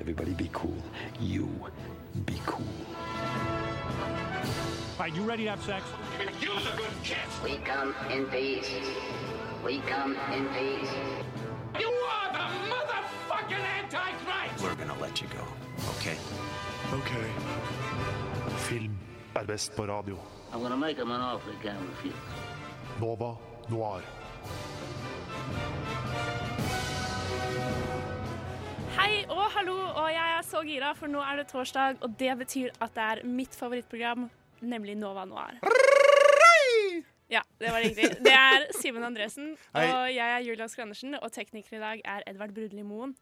Everybody be cool. You be cool. All right, you ready to have sex? We come in peace. We come in peace. You are the motherfucking Antichrist! We're gonna let you go, okay? Ok. Film er best på radio. I'm gonna make him an offer he can't refuse. Nova Noir. Hei og hallo, og jeg er så gira, for nå er det torsdag, og det betyr at det er mitt favorittprogram, nemlig Nova Noir. Ja, det var riktig. Det er Simen Andresen, og jeg er Julia Skrandersen, og tekniker i dag er Edvard Brudli Moen.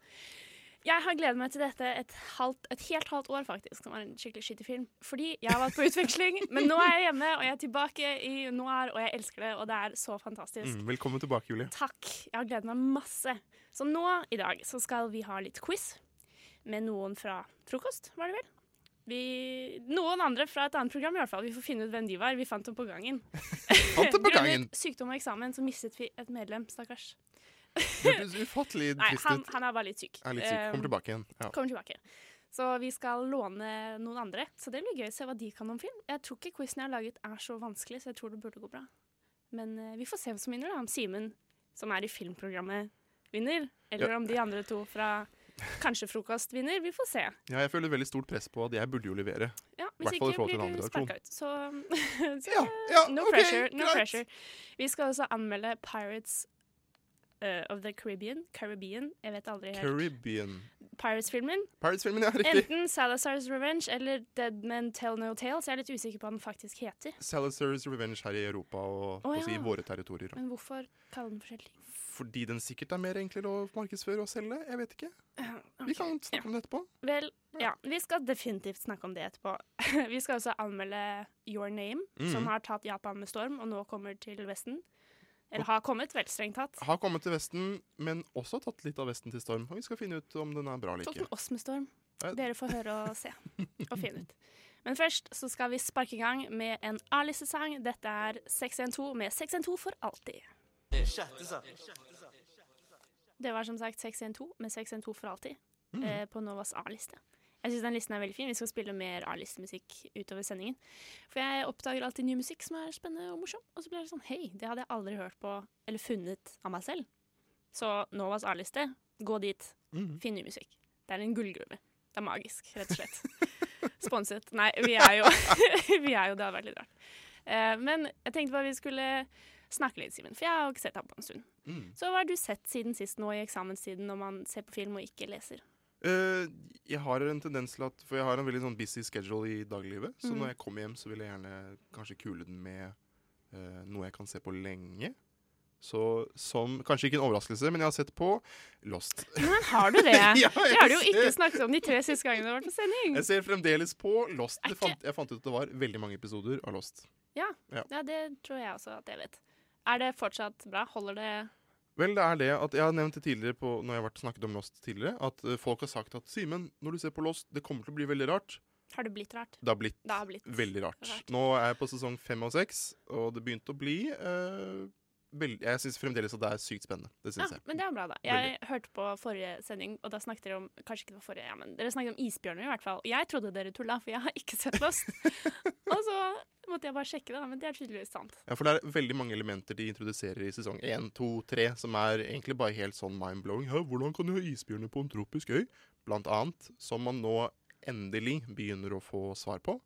Jeg har gledet meg til dette et, halvt, et helt halvt år, faktisk, som var en skikkelig skittig film. Fordi jeg har vært på utveksling, men nå er jeg hjemme, og jeg er tilbake i noir, og jeg elsker det, og det er så fantastisk. Mm, velkommen tilbake, Julie. Takk. Jeg har gledet meg masse. Så nå i dag så skal vi ha litt quiz med noen fra frokost, var det vel? Vi, noen andre fra et annet program, i hvert fall. Vi får finne ut hvem de var. Vi fant dem på gangen. Fant det på gangen! Grunnet sykdom og eksamen så mistet vi et medlem, stakkars. Hørtes ufattelig Nei, trist han, ut. han er bare litt syk. Er litt syk. Um, Kommer tilbake igjen. Ja. kommer tilbake. Så vi skal låne noen andre. Så det blir gøy å se hva de kan om film. Jeg tror ikke quizen jeg har laget er så vanskelig, så jeg tror det burde gå bra. Men eh, vi får se hvem som vinner, da. Om Simen, som er i filmprogrammet, vinner. Eller om de andre to fra kanskje frokost vinner. Vi får se. ja, jeg føler veldig stort press på at jeg burde jo levere. Ja, hvis Hvert fall i ikke forhold til blir den du andre sparka ut. Så, så Ja, ja, no ok, pressure. No greit. pressure. Vi skal også anmelde Pirates eh, of the Caribbean. Caribbean, jeg vet aldri helt. Caribbean. Pirates-filmen. Pirates-filmen, ja. Riktig. Enten Salazar's Revenge eller Dead Men Tell No Tales. Jeg er litt usikker på hva den faktisk heter. Salazar's Revenge her i Europa og Å, på å si ja. våre territorier. Men hvorfor kalle den forskjellig? Fordi den sikkert er mer enklere å markedsføre og selge. Jeg vet ikke. Vi kan snakke om det etterpå. Vel, ja. Vi skal definitivt snakke om det etterpå. Vi skal også anmelde Your Name, som har tatt Japan med storm og nå kommer til Vesten. Eller har kommet, vel strengt tatt. Har kommet til Vesten, men også tatt litt av Vesten til storm. Og vi skal finne ut om den er bra eller Tok ikke. den oss med storm. Ja. Dere får høre og se og finne ut. Men først så skal vi sparke i gang med en A-listesang. Dette er 612 med 612 for alltid. Det var som sagt 612 med 612 for alltid Mm. eh, på Novas A-liste. Jeg syns den listen er veldig fin. Vi skal spille mer A-listemusikk utover sendingen. For jeg oppdager alltid ny musikk som er spennende og morsom. Og så blir det sånn Hei, det hadde jeg aldri hørt på eller funnet av meg selv. Så Novas A-liste, gå dit. Mm. Finn ny musikk. Det er en gullgruve. Det er magisk, rett og slett. Sponset. Nei, vi er jo, vi er jo Det hadde vært litt rart. Eh, men jeg tenkte bare vi skulle snakke litt, Simen. For jeg har jo ikke sett ham på en stund. Mm. Så hva har du sett siden sist nå i eksamenstiden, når man ser på film og ikke leser? Eh, jeg har en tendens til at For jeg har en veldig sånn busy schedule i dagliglivet. Mm. Så når jeg kommer hjem, så vil jeg gjerne kanskje kule den med eh, noe jeg kan se på lenge. Så som Kanskje ikke en overraskelse, men jeg har sett på Lost. Men har du det? Ja, Det har du jo jeg ikke ser- snakket om de tre siste gangene du har vært på sending. Jeg ser fremdeles på Lost. Er Det fant, jeg fant ut at det var veldig mange episoder av Lost. Ja, Ja. ja, det tror jeg også at jeg vet. Er det fortsatt bra? Holder det Vel, det er det at Jeg har nevnt det tidligere på, når jeg har vært snakket om Lost tidligere, at eh, folk har sagt at Simen, når du ser på Lost, det kommer til å bli veldig rart. Har det blitt rart? Det har blitt, Det har blitt veldig rart. rart. Nå er jeg på sesong fem og seks, og det begynte å bli eh, veld- Jeg syns fremdeles at det er sykt spennende. Det Ja, synes jeg. men det er bra, da. Jeg hørte på forrige sending, og da snakket dere om Kanskje ikke det var forrige, ja, men dere snakket om isbjørner i hvert fall. Og jeg trodde dere tulla, for jeg har ikke sett Lost. og så måtte jeg bare sjekke det, da, men det er tydeligvis sant. Ja, for det er veldig mange elementer de introduserer i sesong én, to, tre, som er egentlig bare helt sånn mind-blowing. Hæ, hvordan kan du ha isbjørner på en tropisk øy? Blant annet. Som man nå endelig begynner å få svar på.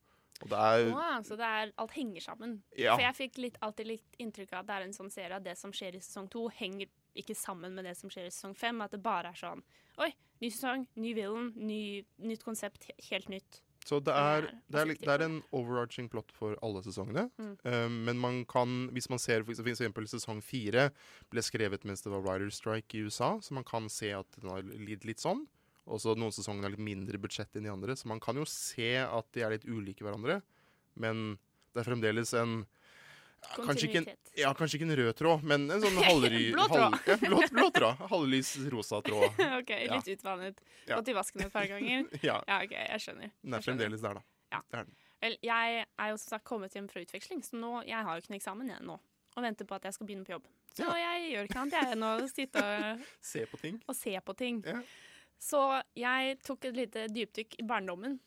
Og det er Wow, så det er, alt henger sammen. Eh, Ja. For jeg fikk litt, alltid litt inntrykk av at det er en sånn serie at det som skjer i sesong to, henger ikke sammen med det som skjer i sesong fem. At det bare er sånn Oi, ny sesong, ny villain, ny, nytt konsept, he- helt nytt. Så det er, er det er, litt- det er perspektiv. en overarching plot for alle sesongene. Mm. Eh, men man kan, hvis man ser for ekse- for eksempel sesong fire ble skrevet mens det var writer strike i USA, så man kan se at den har lidd litt sånn. Og så noen sesonger har litt mindre budsjett enn de andre, så man kan jo se at de er litt ulike hverandre. Men det er fremdeles en ja, Kanskje ikke en, Kontinuitet. ja, kanskje ikke en rød tråd, men en sånn halvry... Blå tråd. halv- ja, blå, blå tråd. Halvlys-rosa tråd. OK, Ja. litt utvannet. Ja. Gått i vasken et par ganger. Ja, Ja, OK, jeg skjønner. den er Jeg skjønner. fremdeles der, da. Ja. Det er den. Vel, jeg er jo som sagt kommet hjem fra utveksling, så nå, jeg har jo ikke noen eksamen igjen nå. Og venter på at jeg skal begynne på jobb. Så Ja. jeg gjør ikke annet jeg enn å sitte og, Se på ting. og se på ting. Ja. Så jeg tok et lite dypdykk i barndommen.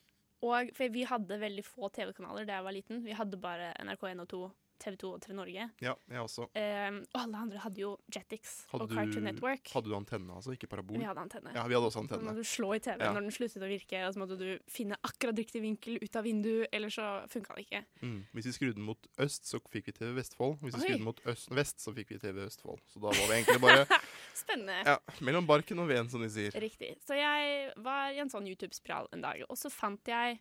Og, for vi hadde veldig få TV-kanaler da jeg var liten. Vi hadde bare NRK1 og 2, TV2 og TV Norge. Ja, jeg også. Eh, og alle andre hadde jo Jetix Hadde og Cartoon du- Network. Hadde du antenne, altså? Ikke parabol? Vi hadde antenne. Ja, vi hadde også Så måtte antenne. du slå i TV-en Ja. når den sluttet å virke, og så måtte du finne akkurat riktig vinkel ut av vinduet, eller så funka det ikke. Mm. Hvis vi skrudde den mot øst, så fikk vi TV Vestfold. Hvis vi Oi. skrudde den mot øst, vest, så fikk vi TV Østfold. Så da var det egentlig bare Spennende. ja, mellom barken og veden, som de sier. Riktig. Så jeg var i en sånn YouTube-spiral en dag, og så fant jeg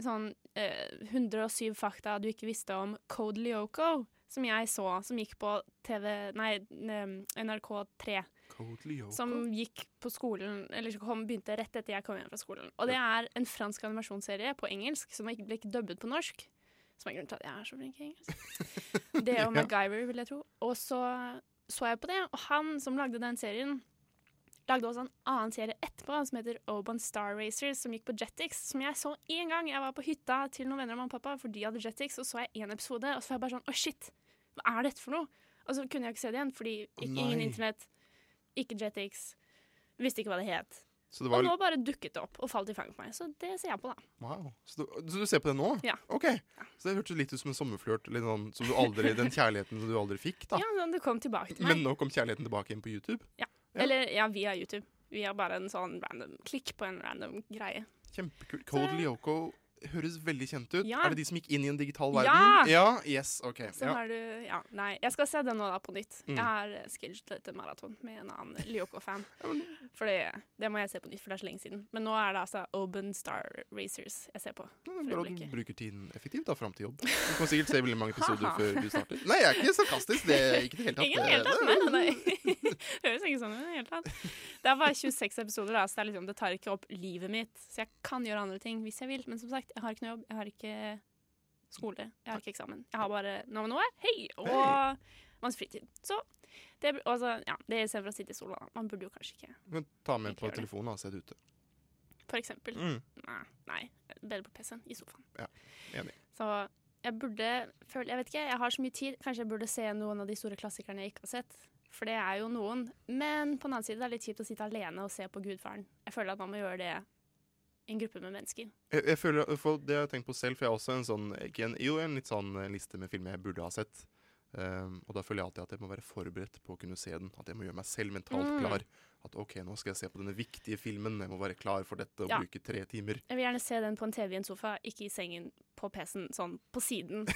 sånn eh, 107 fakta du ikke visste om Code Lyoko, som jeg så, som gikk på TV Nei, em, NRK3. Code Lyoko. Som gikk på skolen, eller som kom, begynte rett etter jeg kom hjem fra skolen. Og det er en fransk animasjonsserie på engelsk som ikke ble ikke dubbet på norsk. Som er grunnen til at jeg er så flink i engelsk. Det og Ja. MacGyver, vil jeg tro. Og så så jeg på det, og han som lagde den serien, lagde også en annen serie etterpå som heter Oban Star Racers, som gikk på Jetix. Som jeg så én gang. Jeg var på hytta til noen venner av mamma og pappa, for de hadde Jetix, og så jeg én episode, og så var jeg bare sånn Å, shit! Hva er dette for noe? Og så kunne jeg ikke se det igjen, fordi Å, ikke, ingen nei. internett. Ikke Jetix. Visste ikke hva det het. Så det Og var nå bare dukket det opp og falt i fanget på meg. Så det ser jeg på, da. Wow. Så du, så du ser på den nå? Ja. Ok. Så det hørtes litt ut som en sommerflørt. Litt sånn, som du aldri, den kjærligheten som du aldri fikk, da. Ja, men det kom tilbake til meg. Ah. Men nå kom kjærligheten tilbake igjen på YouTube. ja. Eller ja, via YouTube. Via bare en sånn random klikk på en random greie. Kjempekult. Code Lyoko høres veldig kjent ut. Ja. Er det de som gikk inn i en digital verden? Ja! Yes, ok. Så Ja. har Sånn du Ja, nei. Jeg skal se den nå, da, på nytt. Mm. Jeg har eh, skillet et maraton med en annen Lyoko-fan. For det, det må jeg se på nytt, for det er så lenge siden. Men nå er det altså Open Star Racers jeg ser på. Det for er Bra du øyeblikket. bruker tiden effektivt da, fram til jobb. Du kan sikkert se veldig mange episoder Ha-ha. før du starter. Nei, jeg er ikke sarkastisk. Det er ikke i det hele tatt. eh, Ingen i det hele tatt, nei, nei, nei. Høres ikke sånn ut i det hele tatt. Det er bare 26 episoder, da, så det, er liksom, det tar ikke opp livet mitt. Så jeg kan gjøre andre ting hvis jeg vil, men som sagt, jeg har ikke noe jobb, jeg har ikke skole, jeg har ikke eksamen. Jeg har bare navn og år, hei, og Hei. masse fritid. Så det, bl- altså, ja, det er istedenfor å sitte i sola. da. Man burde jo kanskje ikke, Du kan ta med Ikke på gjør det. telefonen og se det ute. for eksempel. Mm. Nei, nei bedre på PC-en, i sofaen. Ja, enig. Så jeg burde føle Jeg vet ikke, jeg har så mye tid. Kanskje jeg burde se noen av de store klassikerne jeg ikke har sett. For det er jo noen. Men på den annen side det er litt kjipt å sitte alene og se på Gudfaren. Jeg føler at man må gjøre det i en gruppe med mennesker. Jeg, jeg føler, for Det har jeg tenkt på selv, for jeg har også en sånn ikke en, Jo, en litt sånn eh, liste med filmer jeg burde ha sett. Ehm, og da føler jeg alltid at jeg må være forberedt på å kunne se den. At jeg må gjøre meg selv mentalt Mm. klar. At OK, nå skal jeg se på denne viktige filmen. Jeg må være klar for dette og Ja. bruke tre timer. Jeg vil gjerne se den på en TV i en sofa, ikke i sengen på PC-en, sånn på siden.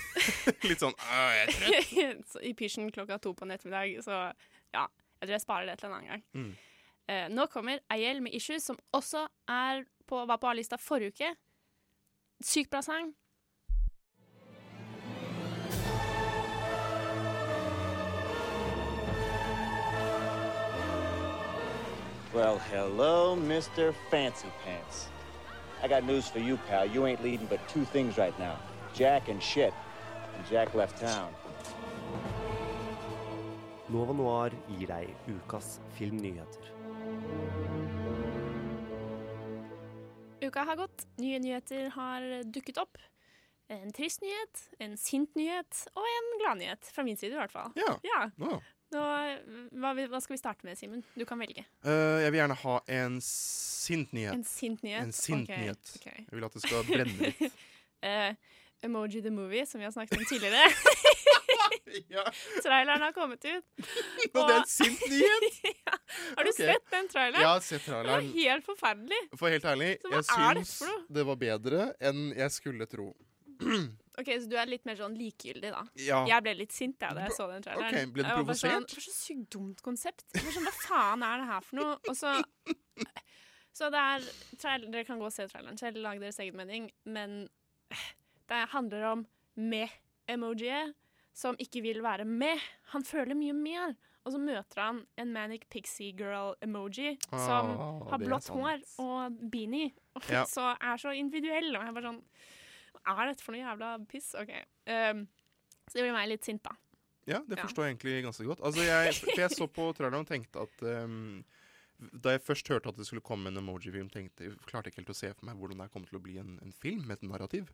Litt sånn «Åh, jeg er trøtt. Så I pysjen klokka to på en ettermiddag. Så ja, jeg tror jeg sparer det til en annen gang. Mm. Eh, nå kommer Ayel med 'Issues', som også er på, var på A-lista forrige uke. Sykt bra sang. Well, hello, Mr. Fancy Pants. I got news for you, pal. You ain't leading but two things right now Jack and shit. And Jack left town. Nova Noir gir deg ukas filmnyheter. Uka har gått, nye nyheter har dukket opp. En trist nyhet, en sint nyhet og en gladnyhet. Fra min side, i hvert fall. Ja. Ja, Nå, ja. nå, hva, vil- hva skal vi starte med, Simen? Du kan velge. Eh, jeg vil gjerne ha en sint nyhet. En sint nyhet? En sint Ok, nyhet. ok. Jeg vil at det skal brenne litt. Eh, Emoji the Movie, som vi har snakket om tidligere. ja, Traileren har kommet ut. nå, det er en sint nyhet! ja. Har du Ok. sett den traileren? Jeg har sett Den var traileren. helt forferdelig. For helt ærlig, Så hva er jeg det syns for noe? det var bedre enn jeg skulle tro. Ok, Så du er litt mer sånn likegyldig, da? Ja. Jeg ble litt sint jeg, da jeg så den traileren. Ah. Ok, ble du Jeg var bare Sånn, provosert? det var så sykt dumt konsept. Jeg var sånn, Hva faen er det her for noe? Og så Så det er trail- Dere kan gå og se traileren selv, lag deres egen mening, men det handler om meh-emojiet, som ikke vil være med. Han føler mye mer. Og så møter han en Manic Pixie Girl-emoji som Ah, har det er blått sant. hår og beanie, og Ja. så er så individuell. Og jeg er bare sånn Hva er dette for noe jævla piss? OK. Um, så det gjorde meg litt sint, da. Ja, det Ja. forstår jeg egentlig ganske godt. Altså, jeg, for jeg så på traileren og tenkte at ehm, Da jeg først hørte at det skulle komme en emoji-film, tenkte jeg klarte ikke helt å se for meg hvordan det her kommer til å bli en, en film med et narrativ.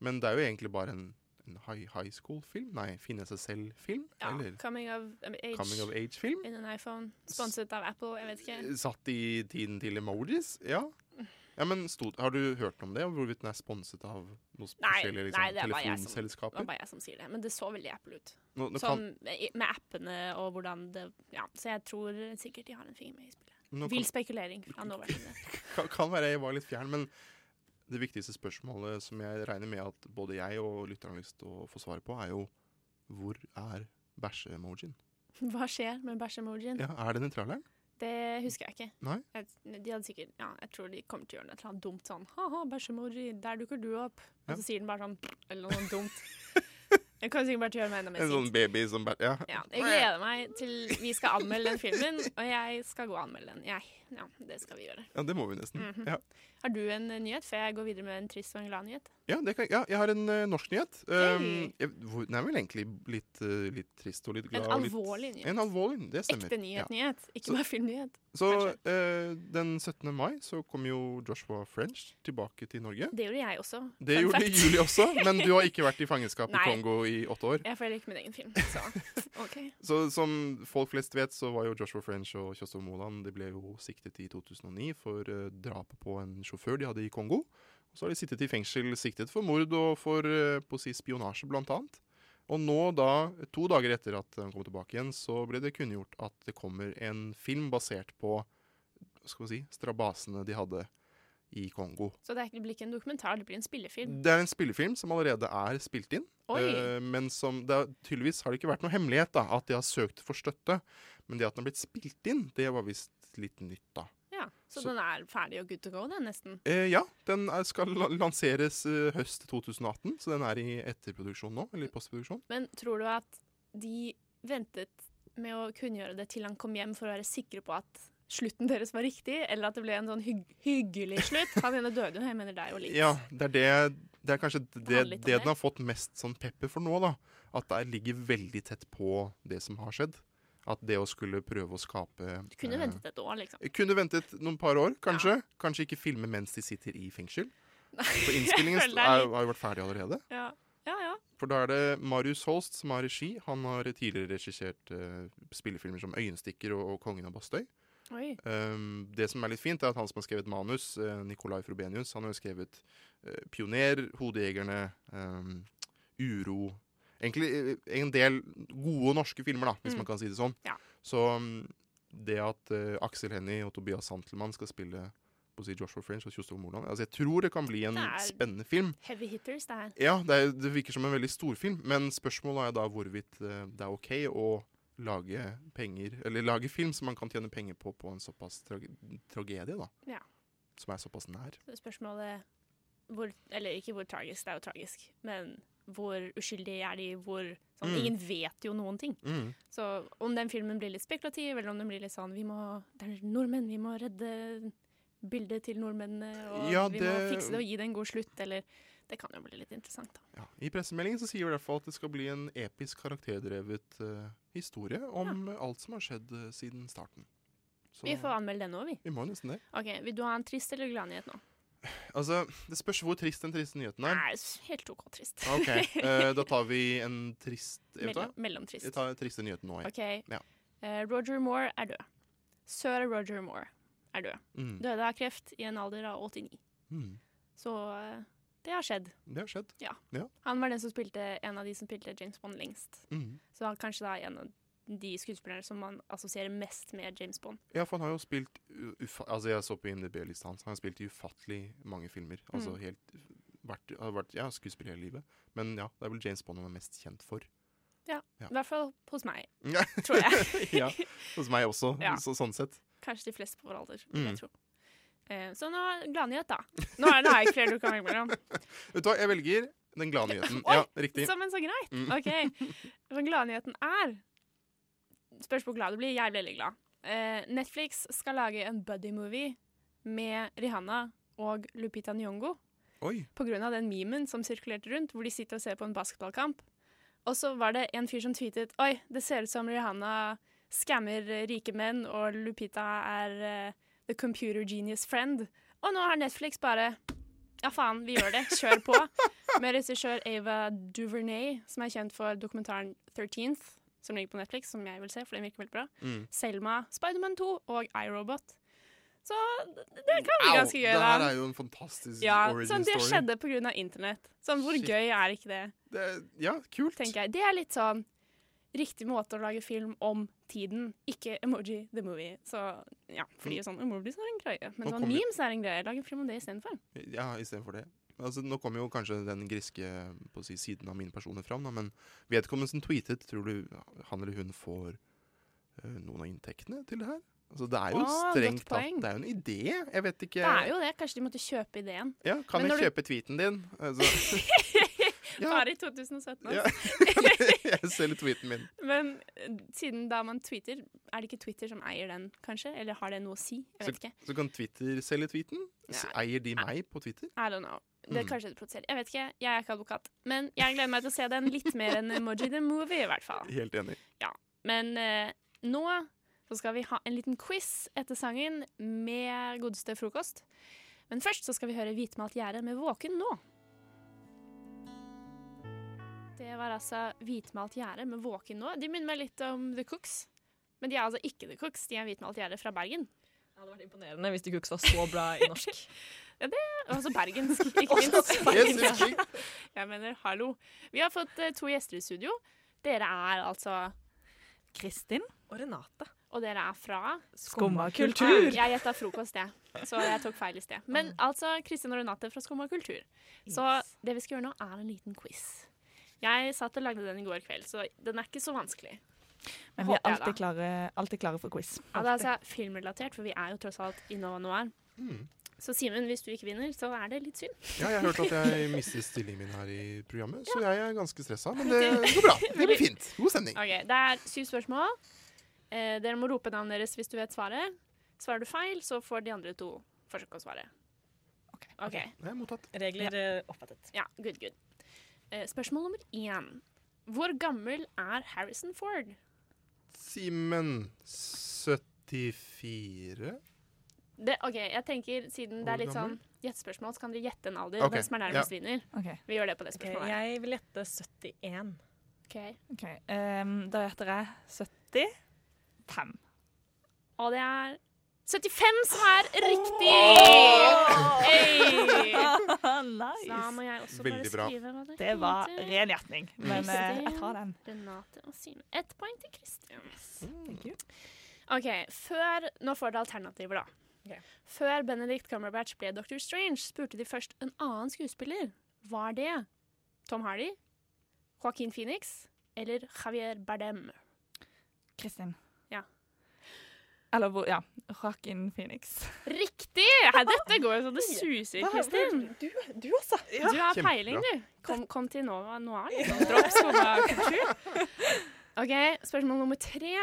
Men det er jo egentlig bare en en high, high school-film? Nei, finne seg selv-film? Ja, Eller Coming of Age coming of Eh, age-film? in an iPhone. Sponset av Apple, jeg vet ikke. Satt i tiden til emojis? Ja. ja men stod, har du hørt om det? og Hvorvidt den er sponset av noen Nei, forskjellige liksom, nei, det er bare jeg som- Det telefonselskaper? var bare jeg som sier det. Men det så veldig Apple ut. Nå, nå, kan, Sånn i- med appene og hvordan det Ja, så jeg tror sikkert de har en finger med i spillet. nå Vill kan, spekulering fra nåværende. kan, kan være jeg var litt fjern, men det viktigste spørsmålet som jeg regner med at både jeg og lytteren har lyst til å få svar på, er jo hvor er bæsje-emojien? Hva skjer med bæsj-emojien? Ja, er den i traileren? Det husker jeg ikke. Nei. Jeg, de hadde sikkert, ja, jeg tror de kommer til å gjøre noe et eller annet dumt sånn Ha-ha, bæsj-emoji, der dukker du opp. Og Ja. så sier den bare sånn Eller noe sånt dumt. Jeg kommer sikkert bare til å gjøre meg enda mer En sånn sint. baby som bæ- Ja. Ja, jeg gleder meg til vi skal anmelde den filmen, og jeg skal gå og anmelde den. Jeg, ja, det skal vi gjøre. ja, det må vi nesten. Mhm. ja. Har du en eh, nyhet før jeg går videre med en trist og en glad nyhet? Ja, det kan, ja, jeg har en eh, norsk nyhet. Um, Hei. jeg, hvor, den er vel egentlig litt, eh, litt trist og litt En glad. og litt, alvorlig nyhet. En alvorlig, det stemmer. Ekte nyhet-nyhet, ikke bare filmnyhet. Ja. Så eh, den 17. mai så kom jo Joshua French tilbake til Norge. Det gjorde jeg også. Det Fun gjorde fact. Julie også, men du har ikke vært i fangenskap i Nei. Kongo i åtte år. Jeg følger ikke min egen film, så OK. Så som folk flest vet, så var jo Joshua French og Kjostov Moland De ble jo siktet i 2009 for eh, drapet på en sjåfør de hadde i Kongo. Og så har de sittet i fengsel siktet for mord og for eh, på å si spionasje, blant annet. Og nå, da, to dager etter at han kom tilbake igjen, så ble det kunngjort at det kommer en film basert på hva skal vi si, strabasene de hadde i Kongo. Så det er ikke- det blir ikke en dokumentar, det blir en spillefilm. Det er en spillefilm som allerede er spilt inn. Oi! Eh, men som det, er- tydeligvis har det ikke vært noe hemmelighet da, at de har søkt for støtte. Men det at den har blitt spilt inn, det var visst litt nytt, da. Ja, så, så- den er ferdig og good to go, den, nesten. Eh, ja, den er, skal la- lanseres eh, høst 2018, så den er i etterproduksjon nå. Eller postproduksjon. Men tror du at de ventet med å kunngjøre det til han kom hjem, for å være sikre på at slutten deres var riktig, eller at det ble en sånn hygg hyggelig slutt? Han ene døde jo, jeg mener deg og Liv. Ja, det er, det, det er kanskje det, handler litt det om den det. har fått mest sånn pepper for nå, da. At det ligger veldig tett på det som har skjedd. At det å skulle prøve å skape Du kunne eh, ventet et år, liksom. Jeg Kunne ventet noen par år, kanskje. Kanskje ikke filme mens de sitter i fengsel. For innspillingen føler det er er, litt- har jo vært ferdig allerede. Ja, ja. ja. For da er det Marius Holst som har regi. Han har tidligere regissert eh, spillefilmer som 'Øyenstikker' og, og 'Kongen av Bastøy'. Oi. Um, det som er litt fint, er at han som har skrevet manus, eh, Nicolai Frobenius, han har jo skrevet eh, 'Pioner', 'Hodejegerne', um, 'Uro' Egentlig eh, en del gode norske filmer, da, hvis Mm. man kan si det sånn. Ja. Så um, det at eh, Aksel Hennie og Tobias Santelmann skal spille på å si Joshua French og Kjostov Moland altså, Jeg tror det kan bli en Det er- spennende film. Heavy hitters, det her. Ja, det, er, det virker som en veldig storfilm, men spørsmålet er da hvorvidt eh, det er OK å lage penger, eller lage film som man kan tjene penger på på en såpass trage tragedie, da. Ja. Som er såpass nær. Så Spørsmålet hvor, Eller ikke hvor tragisk, det er jo tragisk, men hvor uskyldige er de? Hvor sånn, Mm. Ingen vet jo noen ting. Så om den filmen blir litt spekulativ, eller om den blir litt sånn vi må, Det er nordmenn, vi må redde bildet til nordmennene, og Ja, vi må det- fikse det og gi det en god slutt, eller Det kan jo bli litt interessant, da. Ja. I pressemeldingen så sier vi i hvert fall at det skal bli en episk karakterdrevet eh, historie om eh, alt som har skjedd eh, siden starten. Så Vi får anmelde den nå, vi. vi må jo nesten det. Ok, Vil du ha en trist eller glad nyhet nå? Altså, det spørs hvor trist den triste nyheten Nei, er. helt OK trist. Ok, eh, da tar vi en trist Jeg, vet Mellom, hva, mellomtrist. jeg tar triste nyheten nå, jeg. OK. Ja. Eh, Roger Moore er død. Sir Roger Moore er død. Mm. Døde av kreft i en alder av 89. Mm. Så eh, det har skjedd. Det har skjedd. Han var den som spilte en av de som spilte James Bond lengst. Mm. Så han kanskje da er en av de skuespillerne som man assosierer mest med James Bond. Ja, for han har jo spilt u- ufa Altså, jeg så på IMDb-lista hans. Han har spilt i ufattelig mange filmer. Altså Mm. helt vært, har vært Ja, skuespiller hele livet. Men ja, det er vel James Bond han er mest kjent for. Ja. I hvert fall hos meg, Ja. tror jeg. ja, Hos meg også, Ja. så, sånn sett. Kanskje de fleste på vår alder, vil Mm. jeg tro. Eh, Så nå gladnyhet, da. Nå er det ikke flere du kan velge mellom. Vet du hva, jeg velger den glade nyheten. Oi! Ja, riktig. Så, men så greit. Mm. OK. For gladnyheten er Spørs hvor glad du blir. Jeg blir veldig glad. Eh, Netflix skal lage en buddy-movie med Rihanna og Lupita Nyong'o. Oi. på grunn av den memen som sirkulerte rundt, hvor de sitter og ser på en basketballkamp. Og så var det en fyr som tweetet Oi, det ser ut som Rihanna skammer eh, rike menn, og Lupita er eh, the computer genius friend. Og nå har Netflix bare Ja, faen, vi gjør det. Kjør på. Med regissør Ava Duvernay, som er kjent for dokumentaren 13th, som ligger på Netflix, som jeg vil se, for den virker veldig bra. Mm. Selma, Spiderman 2 og iRobot. Så det det kan bli Au! ganske gøy, Det her da. er jo en fantastisk Ja, origin sånn, det story. skjedde pga. internett. Sånn, hvor Shit. gøy er ikke det? Det, ja, kult. tenker jeg. Det er litt sånn riktig måte å lage film om tiden, ikke emoji the movie. Så ja, fordi sånn emojis er en greie, men Mm. Nå sånn kommer- memes er en greie. Lag en film om det istedenfor. Ja, istedenfor det. Altså, nå kommer jo kanskje den griske på å si, siden av mine personer fram, da, men vedkommende som tweetet, tror du han eller hun får eh, noen av inntektene til det her? Altså, det er jo Ah, godt strengt tatt poeng. Det er jo en idé. Jeg vet ikke Det er jo det. Kanskje de måtte kjøpe ideen. ja, Kan Men jeg når du- kjøpe tweeten din? Altså, ja, Bare i 2017. altså. ja. jeg selger tweeten min. Men eh, siden da man tweeter, er det ikke Twitter som eier den, kanskje? Eller har det noe å si? Jeg Så, vet ikke. så kan Twitter selge tweeten? S- Nei. Eier de meg på Twitter? I don't know. Det Mm. kanskje det provoserer. Jeg vet ikke. Jeg er ikke advokat. Men jeg gleder meg til å se den litt mer enn emoji the movie, i hvert fall. Helt enig. Men eh, nå så skal vi ha en liten quiz etter sangen med godeste frokost. Men først så skal vi høre Hvitmalt gjerde med Våken nå. Det var altså Hvitmalt gjerde med Våken nå. De minner meg litt om The Cooks. Men de er altså ikke The Cooks, de er Hvitmalt gjerde fra Bergen. Det hadde vært imponerende hvis The Cooks var så bra i norsk. Altså bergensk, ikke minst. Yes, yes, yes. Jeg mener, hallo. Vi har fått eh, to gjester i studio. Dere er altså Kristin. Og Renate. Og dere er fra Skumma Ah, Jeg gjetta frokost, jeg. Så jeg tok feil i sted. Men altså, Kristin og Renate fra Skum og kultur. Så Yes. det vi skal gjøre nå, er en liten quiz. Jeg satt og lagde den i går kveld, så den er ikke så vanskelig. Men vi er håper jeg, alltid klare, alltid klare for quiz. Ja, det er altså filmrelatert, for vi er jo tross alt i Nova Noir. Så Simen, hvis du ikke vinner, så er det litt synd. Ja, jeg har hørt at jeg mistet stillingen min her i programmet, så jeg er ganske stressa. Men det går bra. Det blir fint. God stemning. Ok, Det er syv spørsmål. Eh, dere må rope navnet deres hvis du vet svaret. Svarer du feil, så får de andre to forsøke å svare. Ok. Ok. Det er mottatt. Regler eh, oppfattet. Ja, good, good. Eh, spørsmål nummer én. Hvor gammel er Harrison Ford? Simen 74 Det, ok, jeg tenker Siden det Hvor er litt gammel? sånn gjettespørsmål, så kan dere gjette en alder. Ok, Den som er nærmest, vinner. Ok, Vi gjør det på det Ok, spørsmålet. jeg vil gjette 71. Ok. ok. Ehm, da gjetter jeg 75. Og det er 75 som er riktig! Hey! Så Da må nice! jeg også Veldig bra. bare skrive hva det, Det var heter. ren gjetning, men eh, jeg tar den. Renate og Simen. Ett poeng til Kristin. Thank you. Ok, før, Nå får dere alternativer, da. Ok. Før Benedict Cumberbatch ble Dr. Strange, spurte de først en annen skuespiller. Var det Tom Hardy, Joaquin Phoenix eller Javier Bardem? Kristin. Ja. Eller hvor Ja. Joaquin Phoenix. Riktig! Her, dette går jo så det suser, Kristin. Du, du også. Du har kjempebra. peiling, du. Kom, kom til Nova Noir. liksom. Dropp skomakultur. OK, spørsmål nummer tre.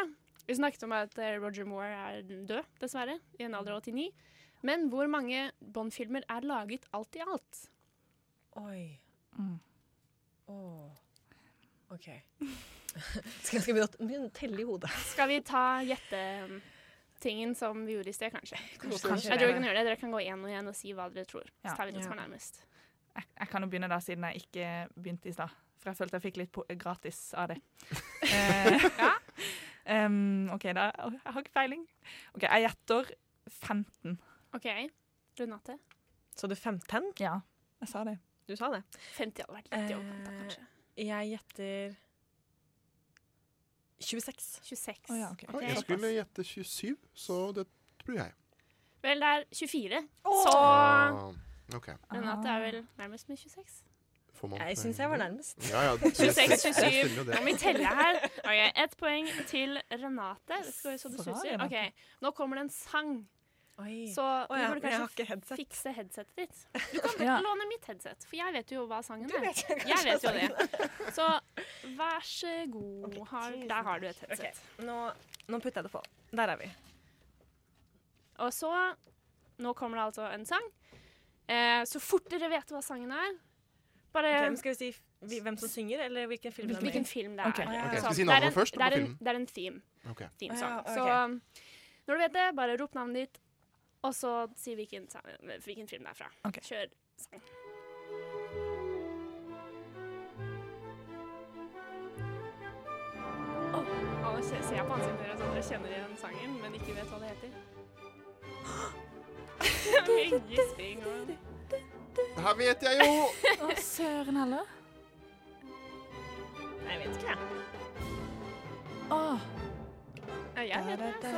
Vi snakket om at eh, Roger Moore er død, dessverre, i en alder av 89. Men hvor mange Bond-filmer er laget alt i alt? Oi. Mm. Åh. OK. Skal skal vi begynne å- begynne å telle i hodet? Skal vi ta gjettetingen som vi gjorde i sted, kanskje? Kanskje Jeg tror vi det. kan gjøre det. Dere kan gå igjen og igjen og si hva dere tror. Ja. Så tar vi det som er Ja. nærmest. Jeg, jeg kan jo begynne da, siden jeg ikke begynte i stad. For jeg følte jeg fikk litt po gratis av det. Eh, em, OK, da. Å, Jeg har ikke peiling. OK, jeg gjetter 15. OK. Renate? Så du 15? Ja, jeg sa det. Du sa det. 50 hadde vært litt i overkant, da, kanskje. Eh, Jeg gjetter 26. 26. Å ja, ok. Ja, Jeg skulle gjette 27, så det tror jeg. Vel, det er 24. Åh! Så Ah, OK. Renate er vel nærmest med 26. Får man Jeg poeng syns jeg var der? nærmest. Ja, ja, det- 26, det 27. stemmer jo det. Nå må vi telle her. Ok, Ett poeng til Renate. Det skal jo så det Bra, suser. Renate. Ok, Nå kommer det en sang, Oi. så du Å ja, burde men jeg har kanskje ikke headset. fikse headsetet ditt. Du kan Ja. låne mitt headset, for jeg vet jo hva sangen er. Jeg Jeg vet jo det. Så vær så god. Ok, Har, tusen der har du et Ok, headset. nå, nå putter jeg det på. Der er vi. Og så Nå kommer det altså en sang. Eh, så fort dere vet hva sangen er, bare Ok, men skal vi si f- vi- hvem som synger, eller hvilken film det er med i? hvilken film det er. Ok. Ok, Så skal vi si det er navnet en- først? Det er, på en, filmen? det er en theme. Ok. theme Å song. ja, Så ok. um, når du vet det, bare rop navnet ditt, og så si hvilken, sa- hvilken film det er fra. Ok. Kjør sang. Åh, Alle se- ser på ansiktet deres at dere kjenner igjen sangen, men ikke vet hva det heter. Mye gisping og Det her vet jeg jo! Å, søren heller. Nei, jeg vet ikke, jeg. Å. Nei, Jeg vet det.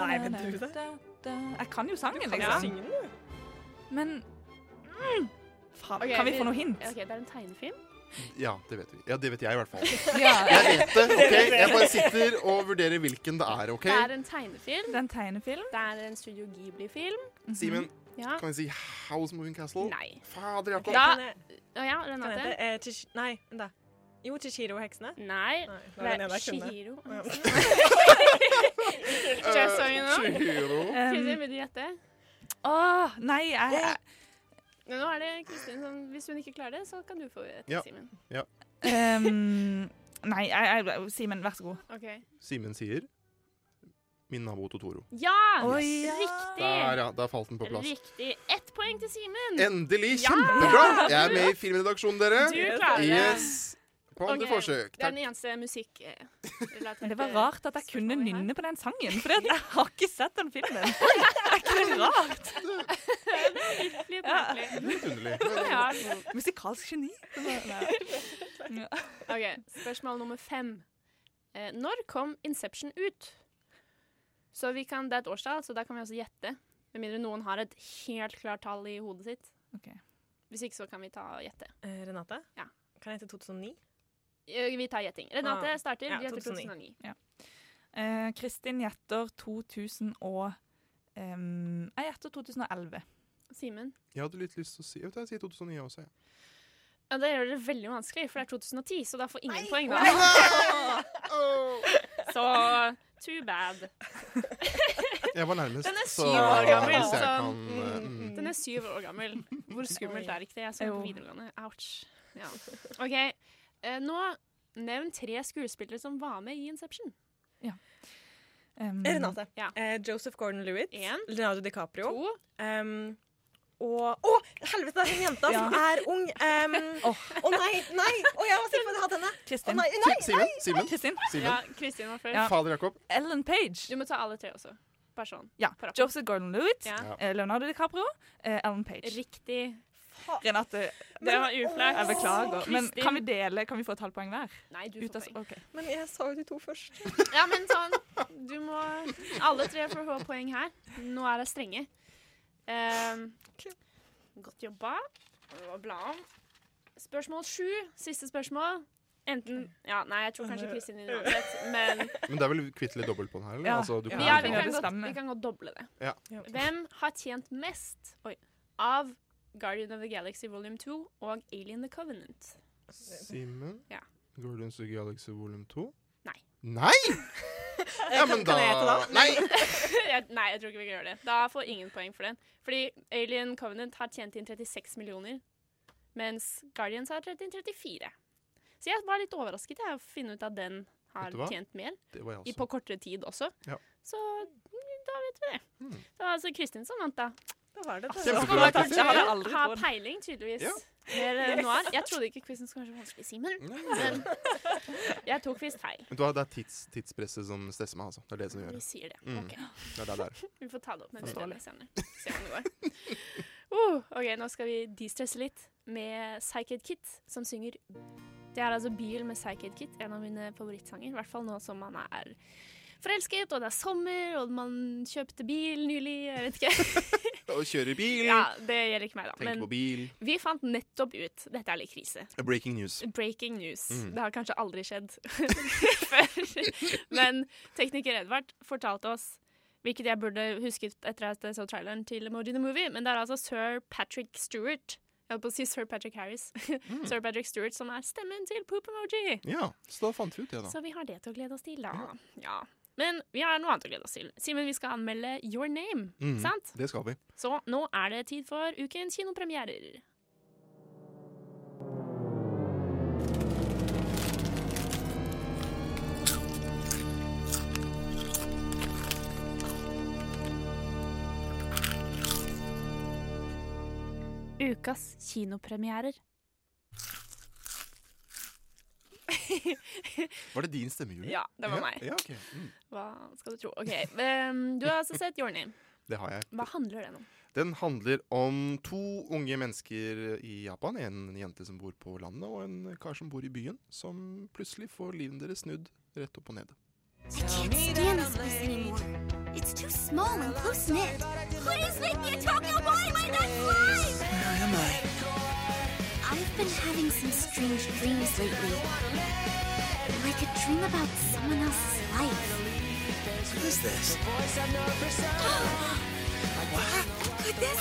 Nei, men du det? Jeg kan jo sangen, Kan du liksom. synge den, du? Men mm, faen, Ok, Kan vi få noe hint? Ok, det er en tegnefilm. Ja, det vet vi. Ja, det vet jeg i hvert fall. Ja, Jeg vet det, ok? Jeg bare sitter og vurderer hvilken det er, ok? Det er en tegnefilm. Det er en tegnefilm. Det er en Studio Ghibli-film. Simen, Ja. kan vi si House Moving Castle? Nei. Fader, Jakob. Da- Kan jeg- Å ja, kan jeg Renate? hete eh, Chish- Nei, vent da. Jo, Chishiro og heksene. Nei. Nei, det var den Det er ene jeg kunne. Shihiro. Ja. Skal jeg synge nå? Eh, Chihiro. Um, Kristin, vil du gjette? Åh, nei, jeg, jeg Nå er det Kristin som Hvis hun ikke klarer det, så kan du få gjette, Ja. Simen. Ehm, nei, jeg, jeg, Simen, vær så god. Ok. Simen sier Min nabo Totoro. Ja! Oi. Der, Riktig! ja. Der falt den på plass. Riktig. Ett poeng til Simen. Endelig! Ja! Kjempebra! Jeg er med i filmredaksjonen, dere. Du klarer det. Yes! På andre Ok, forsøk. Det er Takk. den eneste eh, musikkrelaterte Men det var rart at jeg kunne spørsmålet her. nynne på den sangen, for jeg har ikke sett den filmen. Det er ikke det rart? Litt Ja. merkelig. Litt underlig. Ja. Musikalsk geni. Det var- nei. Ja. OK, spørsmål nummer fem. Eh, når kom Inception ut? Så vi kan, Det er et årstall, så da kan vi også gjette. Med mindre noen har et helt klart tall i hodet sitt. Ok. Hvis ikke, så kan vi ta og gjette. Eh, Renate? Ja. Kan jeg hete 2009? Eh, Vi tar gjetting. Renate Ah, starter. ja, vi gjetter 2009. 2009. Eh, Kristin gjetter 2000 og ehm, Jeg gjetter 2011. Simen? Jeg hadde litt lyst til å si Vet du, jeg sier 2009 også. jeg. Ja, det gjør det veldig vanskelig, for det er 2010, så da får ingen poeng, da. Så too bad. Jeg var nærmest. Den er så syv år gammel, hvis jeg så- kan, eh, mm. Den er syv år gammel. Hvor skummelt er ikke det? Jeg så Jo. på videregående. Ouch. Ja. OK. Eh, nå nevn tre skuespillere som var med i Inception. Ehm, Eh, Renate. Ja. Eh, Joseph Gordon-Lewitt. En. Leonardo DiCaprio. To. Um, og Å, helvete! Det er hun jenta som er ung. Um, Å nei, nei! Å, jeg var sikker på at jeg hadde henne. Å Kristin. nei, nei! Simen? Simen? Kristin. Simen? Ja, Kristin var først. Ja. Fader, Jakob. Ellen Page. Du må ta alle tre også. Bare sånn. Ja. på rappen. Joseph Gordon-Lewitt. Ja. Ja. eh, Leonardo DiCaprio. eh, Ellen Page. Riktig. Renate, Det var uflaut. jeg beklager. Men Kristin. kan vi dele? Kan vi få et halvt poeng hver? Nei, du Ut av, får poeng. ok. Men jeg sa jo de to først. Ja, men sånn Du må Alle tre får få poeng her. Nå er jeg strenge. Ehm, godt jobba. Det var bla om. Spørsmål sju. Siste spørsmål. Enten Ja, nei, jeg tror kanskje Kristin vinner uansett, men Men det er vel kvitt litt dobbelt på den her? eller? Ja. Altså, du kan Ja, ja, ikke- vi, det kan godt, stemmer. vi kan godt doble det. Ja. Ja. Hvem har tjent mest oi, av Guardian of the Galaxy volume 2 og Alien the Covenant? Simen? Ja. Guardians of the Galaxy volum 2? Nei. Nei?! Ja, men da kan jeg hete da? Nei! Jeg- nei, jeg tror ikke vi kan gjøre det. Da får ingen poeng for den. Fordi Alien Covenant har tjent inn 36 millioner, mens Guardians har tjent inn 34. Så jeg var litt overrasket jeg, å finne ut at den har Vet du hva? tjent mer, Det var jeg i, også. på kortere tid også. Ja. Så mm, da vet vi det. Hmm. Det var altså Kristin som vant, da. Da var det det. Kjempebra, Skal man Kristin. kanskje Jeg hadde aldri ha trodd. peiling, tydeligvis. Ja. Mer enn noe annet. Jeg trodde ikke quizen skulle være så vanskelig, Simen. Nei. Jeg tok visst feil. Vet du hva, det er tids, tidspresset som stresser meg, altså. Det er det som gjør Vi det. sier det. Mm. Ok. Det er det der. Vi får ta det opp med dere senere. Se hvordan det går. Uh, ok, nå skal vi distresse litt med Psyched Kit, som synger Det er altså Bil med Psyched Kit, en av mine favorittsanger. I hvert fall nå som man er forelsket, og det er sommer, og man kjøpte bil nylig. Jeg vet ikke. Å kjøre bil, Ja, det gjelder ikke meg, da. tenke Men på bil. vi fant nettopp ut Dette er litt krise. Breaking news. Breaking news. Mm. Det har kanskje aldri skjedd før. Men tekniker Edvard fortalte oss, hvilket jeg burde husket etter at jeg så traileren til Emoji the Movie, men det er altså sir Patrick Stewart Jeg holdt på å si sir Patrick Harris. Mm. sir Patrick Stewart som er stemmen til Poop Emoji. Ja, så da fant vi ut det, da. Så vi har det til å glede oss til, da. Ja. Men vi har noe annet å glede oss til. Simen, vi skal anmelde Your Name, Mm, sant? Det skal vi. Så nå er det tid for ukens kinopremierer. Ukas kinopremierer. Var det din stemme, Julie? Ja, det var meg. Ja, ok. mm. Hva skal du tro? OK. ehm, Du har altså sett Your Name. Det har jeg. Hva handler den om? Den handler om to unge mennesker i Japan. En jente som bor på landet, og en kar som bor i byen. Som plutselig får livet deres snudd rett opp og ned. I can't stand this place anymore. It's too small and close knit. Please make me a Tokyo boy by that fly! Where am I? I've been having some strange dreams lately. Like a dream about someone else's life. What is this? what? Could this?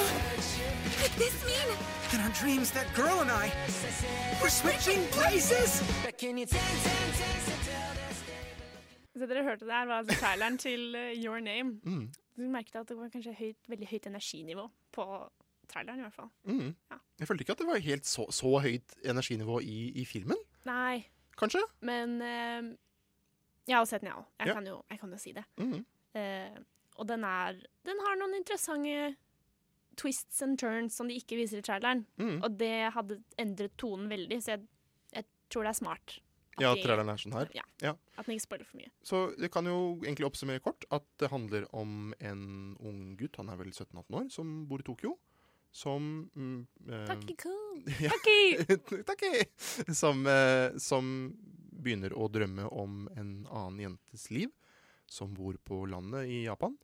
Could this mean? In our dreams, that girl and I, we're switching places! Så dere hørte der var altså traileren til eh, Your Name. Mm. Du merket at det var kanskje høyt, veldig høyt energinivå på traileren i hvert fall. Mm. Jeg følte ikke at det var helt så, så høyt energinivå i, i filmen. Nei. Kanskje? Men eh, jeg har sett den, jeg òg. Jeg, Ja. kan jo- jeg kan jo si det. Mhm. Eh, og den er Den har noen interessante twists and turns som de ikke viser i traileren. Mhm. Og det hadde endret tonen veldig, så jeg, jeg tror det er smart. at Ja, de- traileren er sånn her. Ja, Ja. At den ikke spoiler for mye. Så det kan jo egentlig oppsummere kort at det handler om en ung gutt, han er vel 17-18 år, som bor i Tokyo. Som mm, eh, Ja. Takki! som, eh, som begynner å drømme om en annen jentes liv, som bor på landet i Japan.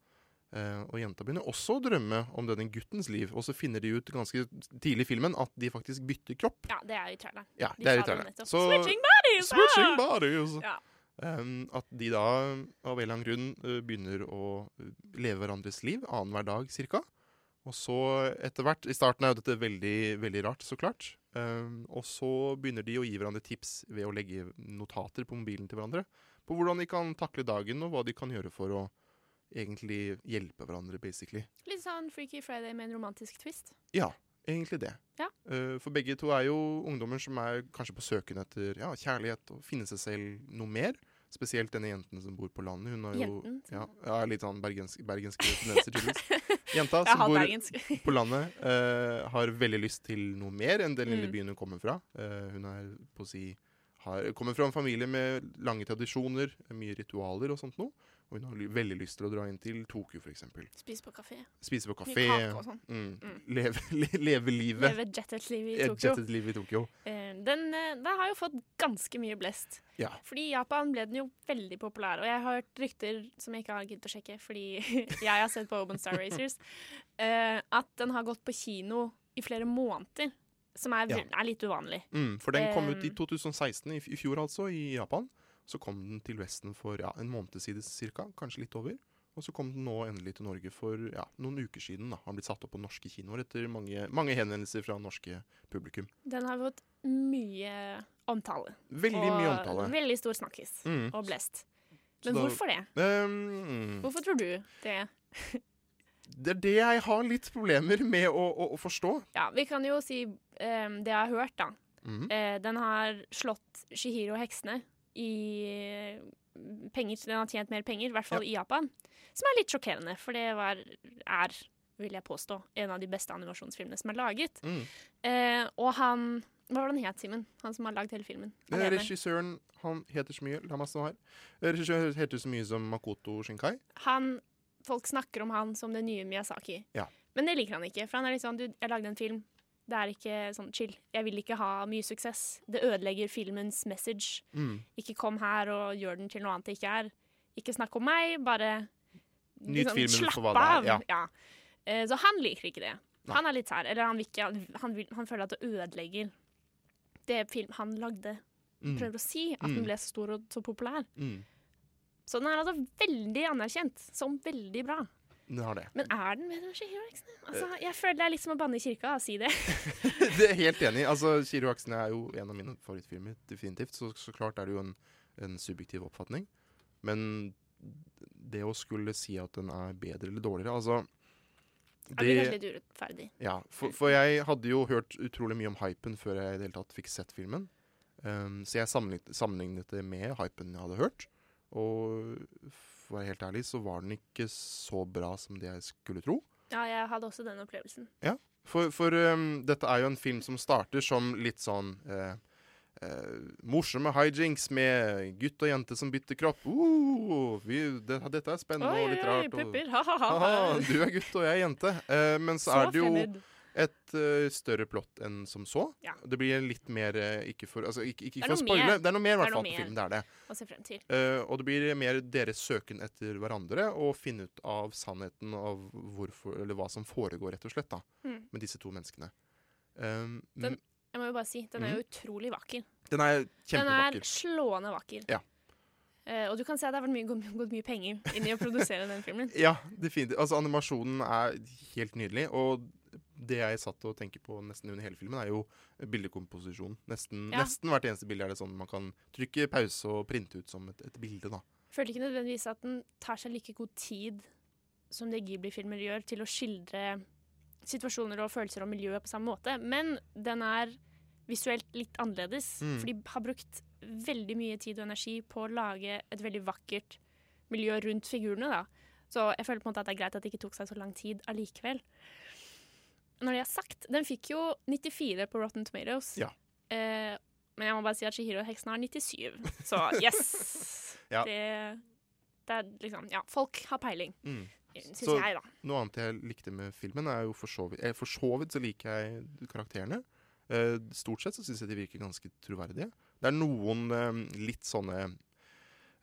Eh, og jenta begynner også å drømme om denne guttens liv, og så finner de ut ganske tidlig i filmen at de faktisk bytter kropp. Ja, det er i traileren. Ja, De det er sa i traileren. nettopp. Så- Switching bodies! ah! Switching bodies! Ja. Ehm, at de da eh, av en eller annen grunn eh, begynner å eh, leve hverandres liv annenhver dag cirka. Og så etter hvert I starten er jo dette veldig, veldig rart, så klart. Ehm, og så begynner de å gi hverandre tips ved å legge notater på mobilen til hverandre. På hvordan de kan takle dagen, og hva de kan gjøre for å egentlig hjelpe hverandre, basically. Litt sånn Freaky Friday med en romantisk twist. Ja, egentlig det. Ja. Eh, for begge to er jo ungdommer som er kanskje på søken etter ja, kjærlighet og finne seg selv noe mer. Spesielt denne jenten som bor på landet. Hun har jo Jenten, ja, ja, litt sånn bergensk, bergenske tendenser, tydeligvis. Jenta Jeg som hater bor bergensk. på landet, eh, har veldig lyst til noe mer enn den lille Mm. byen hun kommer fra. Eh, hun er på å si har, kommer fra en familie med lange tradisjoner, mye ritualer og sånt noe. Og hun har ly- veldig lyst til å dra inn til Tokyo, f.eks. Spise på kafé. Spise på Mye kafé. kake og sånn. Mm. Mm. Leve, le, leve livet. Leve jettet-livet i Et Tokyo. jettet liv i Tokyo. Eh, Den, eh, den har jo fått ganske mye blest. Ja. Fordi i Japan ble den jo veldig populær, og jeg har hørt rykter som jeg ikke har giddet å sjekke, fordi jeg har sett på Open Star Racers, eh, at den har gått på kino i flere måneder, som er, Ja. er litt uvanlig. Mm, for den kom ut i Eh, 2016, i f- i fjor altså, i Japan. Så kom den til Vesten for ja, en måned siden cirka, kanskje litt over. Og så kom den nå endelig til Norge for ja, noen uker siden. da. Har den blitt satt opp på norske kinoer etter mange, mange henvendelser fra norske publikum. Den har fått mye omtale. Veldig og mye omtale. Veldig stor snakkis Mm. og blest. Så Men da- hvorfor det? Ehm, Hvorfor tror du det? det er det jeg har litt problemer med å, å, å forstå. Ja, vi kan jo si eh, det jeg har hørt, da. Mhm. Eh, den har slått Shihiro og heksene i eh, penger. Den har tjent mer penger, i hvert fall i Japan. Som er litt sjokkerende, for det var, er, vil jeg påstå, en av de beste animasjonsfilmene som er laget. Mm. Eh, og han Hva var det han het, Simen? Han som har lagd hele filmen? Eh, Alene. Regissøren han heter så mye La meg stå her. Eh, Regissøren heter så mye som Makoto Shinkai. han, folk snakker om han som den nye Miyazaki. Ja. Men det liker han ikke, for han er litt sånn, du, jeg lagde en film, det er ikke sånn chill. Jeg vil ikke ha mye suksess. Det ødelegger filmens message. Mm. Ikke kom her og gjør den til noe annet det ikke er. Ikke snakk om meg, bare liksom, Nyt filmen for slapp hva det er, av. ja. Ja. Eh, Så han liker ikke det. Nei. Han er litt sær, eller han, vil ikke, han, han, vil, han føler at det ødelegger det film han lagde. Mm. Prøver å si at Mm. den ble så stor og så populær. Mm. Så den er altså veldig anerkjent som veldig bra. Den har det. Men er den bedre enn Shihiro Heksene? Altså, jeg føler det er litt som å banne i kirka å si det. det er helt enig. Altså, Shiro Aksene er jo en av mine favorittfilmer, definitivt. Så, så klart er det jo en, en subjektiv oppfatning. Men det å skulle si at den er bedre eller dårligere, altså Det blir kanskje litt urettferdig. ja, for, for jeg hadde jo hørt utrolig mye om hypen før jeg i det hele tatt fikk sett filmen. Um, så jeg sammenlignet, sammenlignet det med hypen jeg hadde hørt. Og for å være helt ærlig så var den ikke så bra som det jeg skulle tro. Ja, jeg hadde også den opplevelsen. Ja. For, for ehm, dette er jo en film som starter som litt sånn eh, eh, morsomme hijinks med gutt og jente som bytter kropp. Uh, vi, det, dette er spennende Oi, og litt oi, oi, rart. og- pupper, ha, ha, ha. Haha, du er gutt, og jeg er jente. Eh, men så, Så er det jo fremmed. et eh, større plott enn som så. Ja. Det blir litt mer eh, Ikke for, altså, ikke, ikke Det er for å noe spoile, mer. det er noe mer i Det er hvert noe fall på mer filmen. Det er det. å se frem til. Eh, og det blir mer deres søken etter hverandre og finne ut av sannheten av hvorfor, eller hva som foregår, rett og slett, da, Mm. med disse to menneskene. Um, Den, jeg må jo bare si, den er jo Mhm. utrolig vakker. den er Den er kjempevakker. slående vakker. Ja. Eh, og du kan se at det har vært mye, gått, gått mye penger inn i å produsere den filmen. Ja, definitivt. Altså, animasjonen er helt nydelig. Og det jeg satt og tenker på nesten under hele filmen, er jo bildekomposisjonen. Nesten, Ja. nesten hvert eneste bilde er det sånn man kan trykke pause og printe ut som et, et bilde, da. Følte ikke nødvendigvis at den tar seg like god tid som det Ghibli-filmer gjør, til å skildre situasjoner og følelser og miljøet på samme måte. Men den er visuelt litt annerledes, Mm. for de har brukt veldig mye tid og energi på å lage et veldig vakkert miljø rundt figurene. da. Så jeg føler på en måte at det er greit at det ikke tok seg så lang tid allikevel. Når det er sagt, den fikk jo 94 på Rotten Tomatoes. Ja. Eh, men jeg må bare si at Shihiro og heksen har 97, så yes! Ja. det, det er liksom Ja, folk har peiling, Mm. syns Så jeg, da. Noe annet jeg likte med filmen, er jo for så vidt eh, For så vidt så liker jeg karakterene. Eh, stort sett så syns jeg de virker ganske troverdige. Det er noen eh, litt sånne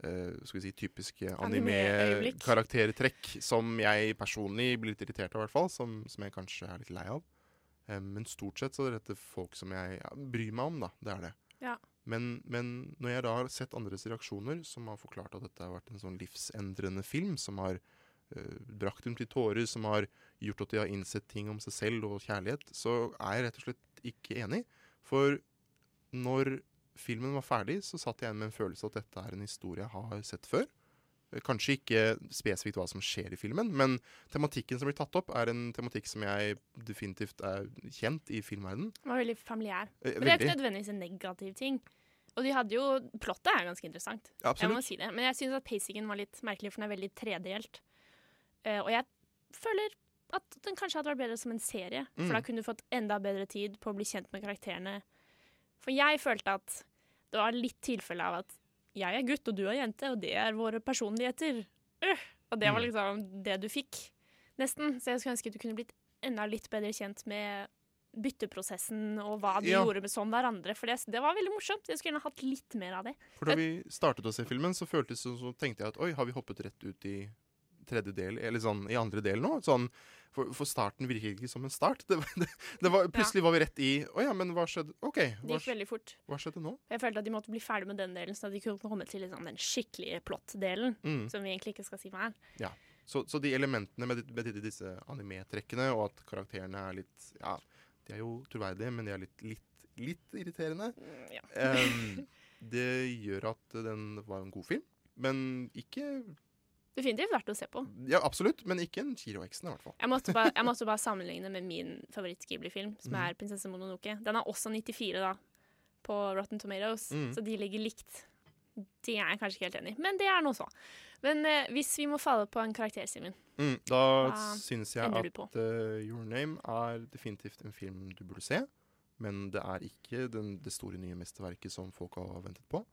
eh, skal vi si typiske Anime-øyeblikk. anime-karaktertrekk som jeg personlig blir litt irritert av, i hvert fall. Som, som jeg kanskje er litt lei av. Eh, men stort sett så er dette folk som jeg ja, bryr meg om, da. Det er det. Ja. Men, men når jeg da har sett andres reaksjoner, som har forklart at dette har vært en sånn livsendrende film, som har eh, brakt dem til tårer, som har gjort at de har innsett ting om seg selv og kjærlighet, så er jeg rett og slett ikke enig. For når filmen var ferdig, så satt jeg igjen med en følelse at dette er en historie jeg har sett før. Eh, Kanskje ikke spesifikt hva som skjer i filmen, men tematikken som blir tatt opp, er en tematikk som jeg definitivt er kjent i filmverdenen. Den var veldig familiær. Men det Eh, er jo veldig. ikke nødvendigvis en negativ ting. Og de hadde jo Plottet er ganske interessant, Ja, jeg må absolutt. si det. Men jeg syns at pacingen var litt merkelig, for den er veldig tredelt. Eh, og jeg føler at den kanskje hadde vært bedre som en serie, Mm. for da kunne du fått enda bedre tid på å bli kjent med karakterene. For jeg følte at det var litt tilfelle av at jeg er gutt, og du er jente, og det er våre personligheter. Øh! Og det var Mm. liksom det du fikk, nesten. Så jeg skulle ønske at du kunne blitt enda litt bedre kjent med bytteprosessen og hva de Ja. gjorde med som hverandre. For det, det var veldig morsomt. Jeg skulle gjerne hatt litt mer av det. For da vi startet å se filmen, så føltes det som, så tenkte jeg at oi, har vi hoppet rett ut i tredje del, eller sånn i andre del nå? Sånn, for, for starten virket ikke som en start. Det, var- det, det var, plutselig var vi rett i Å ja, men hva skjedde? OK, Det hva, gikk veldig fort. hva skjedde nå? Jeg følte at de måtte bli ferdig med den delen, så at de kunne komme til liksom, den skikkelige plott-delen, Mm. som vi egentlig ikke skal si hva er. Ja. Så, så de elementene med, de- med de- disse anime-trekkene, og at karakterene er litt Ja, de er jo troverdige, men de er litt, litt, litt irriterende. Mm, ja. Em, det gjør at den var en god film, men ikke Definitivt verdt å se på. Ja, absolutt, men ikke en Chiro-heksen, i hvert fall. Jeg måtte, bare, jeg måtte bare sammenligne med min favoritt-Ghibli-film, som Mhm. er 'Prinsesse Mononoke'. Den er også 94 da, på Rotten Tomatoes, Mhm. Mm. så de ligger likt. Det er jeg kanskje ikke helt enig i, men det er nå så. Men eh, hvis vi må falle på en karakter, Simen Mm, da Hva syns jeg ender du at på? eh, Your Name er definitivt en film du burde se. Men det er ikke den, det store nye mesterverket som folk har ventet på.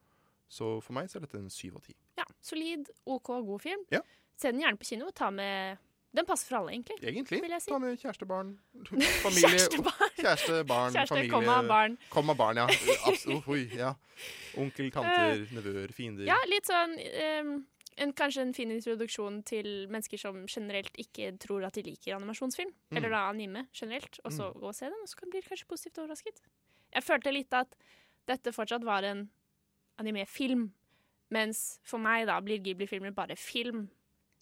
Så for meg så er dette en syv av ti. Ja, solid, OK, god film. Ja. Se den gjerne på kino. Ta med Den passer for alle, egentlig. Egentlig. Vil jeg si. Ta med kjæreste, barn, Familie, kjæreste, barn, Kjæreste, familie komma, barn. Komma barn, ja. Abs oh, oi, ja. Onkel, tanter, nevøer, fiender. Eh, Ja, litt sånn ehm, en, Kanskje en fin introduksjon til mennesker som generelt ikke tror at de liker animasjonsfilm. Mm. Eller da anime generelt. Og så Mm. gå og se den, og så kan- blir du kanskje positivt overrasket. Jeg følte litt at dette fortsatt var en animefilm. Mens for meg da blir Ghibli-filmer bare film.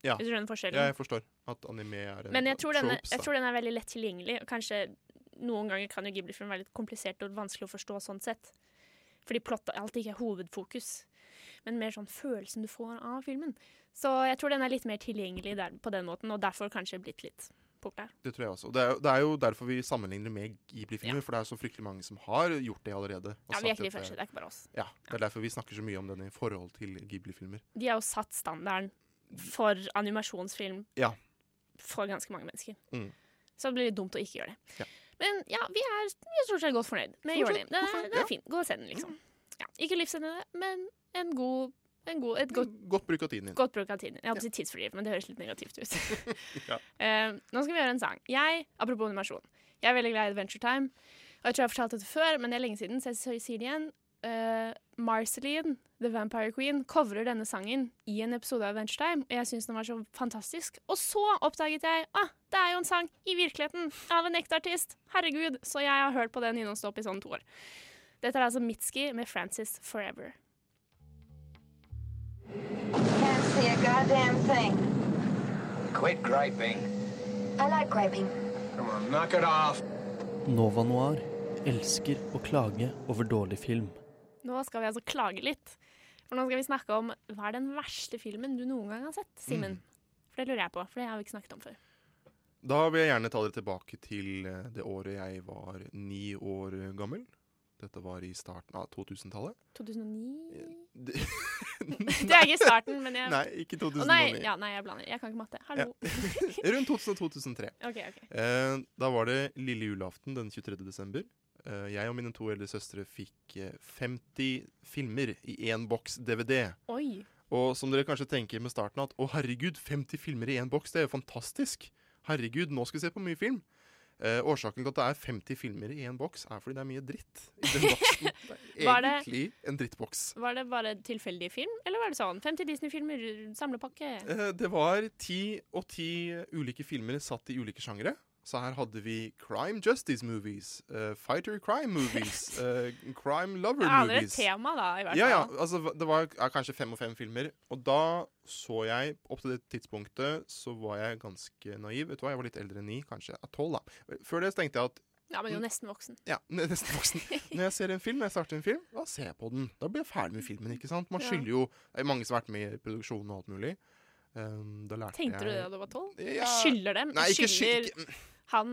Ja. Hvis du skjønner forskjellen. Ja, jeg forstår at anime er en Men jeg tror, denne, Eh, tropes, da. jeg tror den er veldig lett tilgjengelig. og Kanskje Noen ganger kan jo Ghibli-film være litt komplisert og vanskelig å forstå sånn sett. Fordi plott alltid ikke er hovedfokus, men mer sånn følelsen du får av filmen. Så jeg tror den er litt mer tilgjengelig der, på den måten, og derfor kanskje blitt litt populær. Det tror jeg også. Det er, jo- det er jo derfor vi sammenligner med Ghibli-filmer, for det er så fryktelig mange som har gjort det allerede. og Ja, vi er ikke sagt de at første, det er ikke bare oss. Ja, Det er derfor vi snakker så mye om den i forhold til Ghibli-filmer. De har jo satt standarden for animasjonsfilm Ja. for ganske mange mennesker. Mm. Så det blir litt dumt å ikke gjøre det. Men ja, vi er, vi er stort sett godt fornøyd Stort med Your sett Name. Det godt er, fornøyd, det ja. er fint. Gå og se den, liksom. Ja, ikke livsendende, men en god, en god, et godt, Godt bruk av tiden din. godt bruk av tiden. Jeg hadde sagt tidsfordriv, men det høres litt negativt ut. Ja. Eh, nå skal vi gjøre en sang. Jeg, apropos animasjon, jeg er veldig glad i Adventure Time. Og jeg tror jeg har fortalt dette før, men det er lenge siden, så jeg sier- sier det igjen. Eh, Marceline, The Vampire Queen, covrer denne sangen i en episode av Adventure Time, og jeg syns den var så fantastisk. Og så oppdaget jeg ah, det er jo en sang i virkeligheten av en ekte artist. Herregud, så jeg har hørt på den innholdsstopp i sånn to år. Dette er altså Mitski med Francis Forever. Can't see a goddamn thing. Quit griping. I like griping. Come on, knock it off. Nova Noir elsker å klage over dårlig film. Nå skal vi altså klage litt. For nå skal vi snakke om hva er den verste filmen du noen gang har sett, Simen. For det lurer jeg på, for det har vi ikke snakket om før. Da vil jeg gjerne ta dere tilbake til eh, det året jeg var ni år gammel. Dette var i starten av 2000-tallet. 2009 Det, Det er ikke starten, men jeg Nei, ikke Å, 2009. nei, ja, nei, jeg blander. Jeg kan ikke matte. Hallo. Ja. Rundt 2000-2003. Ok, ok. Eh, da var det lille julaften den 23. desember. Eh, jeg og mine to eldre søstre fikk eh, 50 filmer i én boks DVD. Oi. Og som dere kanskje tenker med starten at å herregud, 50 filmer i én boks, det er jo fantastisk. Herregud, nå skal vi se på mye film. Eh, årsaken til at det er 50 filmer i én boks, er fordi det er mye dritt i den boksen. Det Var er det- egentlig en drittboks. Var det bare tilfeldig film, eller var det sånn 50 Disney-filmer, samlepakke? Eh, Det var ti og ti ulike filmer satt i ulike sjangere. Så her hadde vi crime justice movies, eh, fighter crime movies, eh, crime lover Jeg aner et movies. tema, da, i hvert Ja, fall. ja, altså hva- Det var ja, kanskje fem og fem filmer. Og da så jeg Opp til det tidspunktet så var jeg ganske naiv. Vet du hva, Jeg var litt eldre enn ni, kanskje ja, tolv. da. Før det så tenkte jeg at Ja, men jo nesten voksen. ja, n- nesten voksen. Når jeg ser en film, når jeg starter en film, da ser jeg på den. Da blir jeg ferdig med filmen. ikke sant? Man Ja. skylder jo Det er mange som har vært med i produksjonen og alt mulig. Um, da lærte Tenkte du det jeg da du var tolv? Ja. Jeg skylder dem. Nei, ikke mm, jeg skyld- skylder han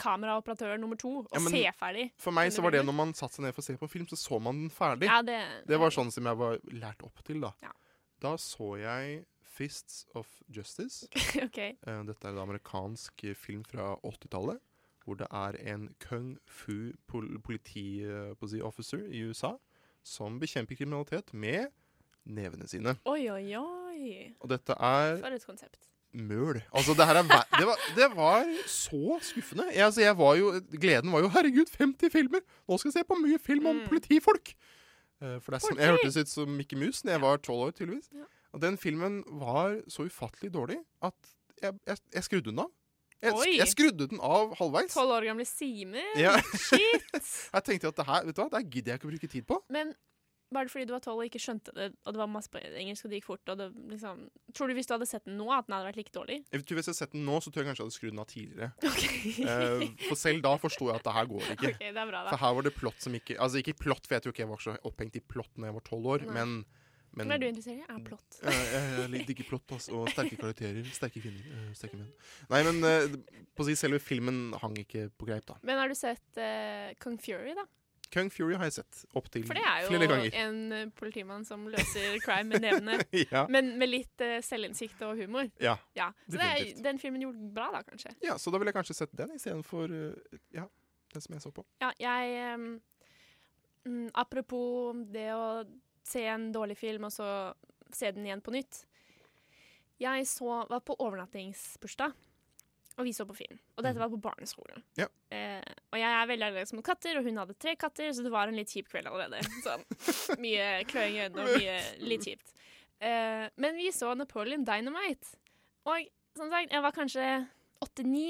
kameraoperatør nummer to å Ja, men se ferdig. For meg så var det denne når man satte seg ned for å se på en film, så så man den ferdig. Ja, det- var sånn som jeg var lært opp til, da. Da så jeg Fists of Justice. filmen. Ok. Eh, Dette er en amerikansk eh, film fra 80-tallet, hvor det er en kung fu pol politi eh, på å si, officer i USA som bekjemper kriminalitet med nevene sine. Oi, oi, oi. Og dette er For et konsept. møl. Altså, det her er ver- det, var, det var så skuffende. Jeg, altså, jeg var jo, gleden var jo 'herregud, 50 filmer! Nå skal jeg se på mye film Mm. om politifolk!' Eh, For det er sånn, jeg Politi! hørtes ut som Mickey Mouse da jeg var 12 år, tydeligvis. Og den filmen var så ufattelig dårlig at jeg, jeg, jeg skrudde den av. Jeg, sk- Oi. jeg skrudde den av halvveis. Tolv år gamle Simen. Ja. Shit! jeg tenkte at det her, vet du hva, det her gidder jeg ikke å bruke tid på. Men var det fordi du var tolv og ikke skjønte det, og det var masse på engelsk, og det gikk fort, og det liksom Tror du hvis du hadde sett den nå, at den hadde vært like dårlig? Jeg tror Hvis jeg hadde sett den nå, så tror jeg kanskje jeg hadde skrudd den av tidligere. Eh, for selv da forsto jeg at det her går ikke. Ok, det er bra da. For her var det plott som ikke Altså ikke plott, for jeg tror ikke jeg var så opphengt i plott når jeg var tolv år, Nei. men, men Hva er du interessert i? Er plott. Eh, jeg jeg digger plott altså, og sterke karakterer. Sterke kvinner. eh, sterke menn. Nei, men eh, på å si selve filmen hang ikke på greip, da. Men har du sett eh, Kong Fury, da? Kung Fury har jeg sett opptil For det er flere jo ganger. en eh, politimann som løser crime med nevene. Ja. Men med litt eh, selvinnsikt og humor. Ja, Så det er, definitivt. den filmen gjorde bra, da, kanskje. Ja, så da ville jeg kanskje sett den istedenfor uh, ja, den som jeg så på. Ja, jeg ehm, mm, Apropos det å se en dårlig film, og så se den igjen på nytt. Jeg så, var på overnattingsbursdag, og vi så på film. Og dette var på barneskolen. Ja. Eh, og jeg er veldig allergisk mot katter, og hun hadde tre katter, så det var en litt kjip kveld allerede. Sånn. Mye kløing i øynene og mye litt kjipt. Eh, men vi så Napoleon Dynamite, og som sagt, jeg var kanskje åtte-ni,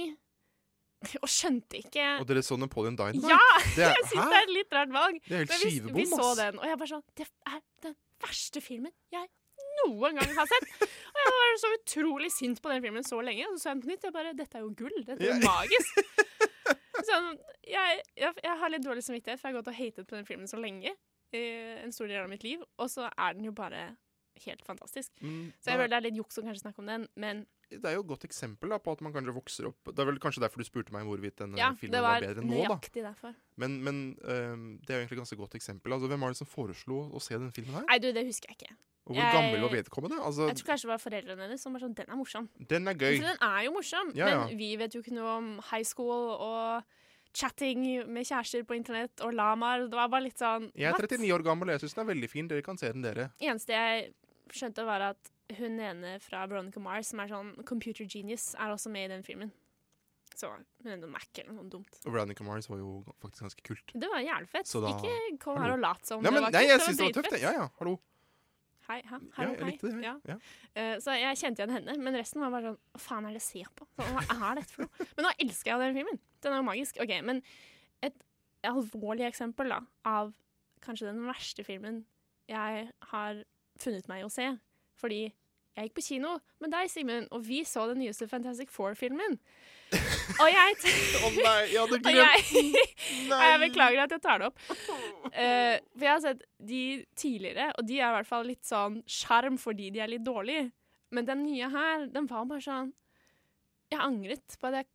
og skjønte ikke Og dere så Napoleon Dynamite? ja! Det er- jeg syns hæ? det er et litt rart valg. Det er helt Men vi, skivebom, vi så ass. den, og jeg bare sånn Det er den verste filmen jeg noen gang har sett. Og jeg var så utrolig sint på den filmen så lenge, og så så jeg den på nytt. Jeg bare Dette er jo gull. Dette er Ja. jo magisk. Sånn, jeg, jeg, jeg har litt dårlig samvittighet, for jeg har gått og hatet på den filmen så lenge. eh, en stor del av mitt liv. Og så er den jo bare helt fantastisk. Mm, Så jeg da- føler det er litt juks å kanskje snakke om den, men Det er jo et godt eksempel da, på at man kanskje vokser opp Det er vel kanskje derfor du spurte meg hvorvidt denne ja, filmen det var, var bedre enn nå, da. nøyaktig derfor. Men, ehm, men øhm, det er jo egentlig et ganske godt eksempel. Altså, Hvem var det som foreslo å se den filmen her? Nei, du, det husker jeg ikke. Og hvor gammel var vedkommende? Altså, jeg tror kanskje det var foreldrene hennes som var sånn Den er morsom. Den er gøy. Så Altså, den er jo morsom, Ja, ja. men vi vet jo ikke noe om high school og chatting med kjærester på internett og lamaer. Det var bare litt sånn Jeg er what? 39 år gammel, og jeg syns den er veldig fin. Dere kan se den, dere. eneste jeg skjønte, var at hun ene fra Veronica Mars, som er sånn computer genius, er også med i den filmen. Så hun er noe Mac eller noe dumt. Og Veronica Mars var jo faktisk ganske kult. Det var jævlig fett. Så da- Ikke kom Hallo. her og lat som Nei, men, det var nei, kult. jeg syns det var tøft. dritfett. det. Ja, ja, hallo. Hei, hæ? Ja, Hallo, jeg hei. likte det, jeg. Ja. Ja. Eh, så jeg kjente igjen henne, men resten var bare sånn Hva faen er det jeg ser på? Så, hva er dette for noe? Men nå elsker jeg den filmen. Den er jo magisk. OK, men et alvorlig eksempel da, av kanskje den verste filmen jeg har funnet meg å se. Fordi jeg gikk på kino med deg, Simen, og vi så den nyeste Fantastic Four-filmen. Og jeg Å nei, jeg hadde Og jeg, og jeg beklager at jeg tar det opp. Eh, for jeg har sett de tidligere, og de er i hvert fall litt sånn sjarm fordi de er litt dårlige. Men den nye her, den var bare sånn Jeg angret på at jeg,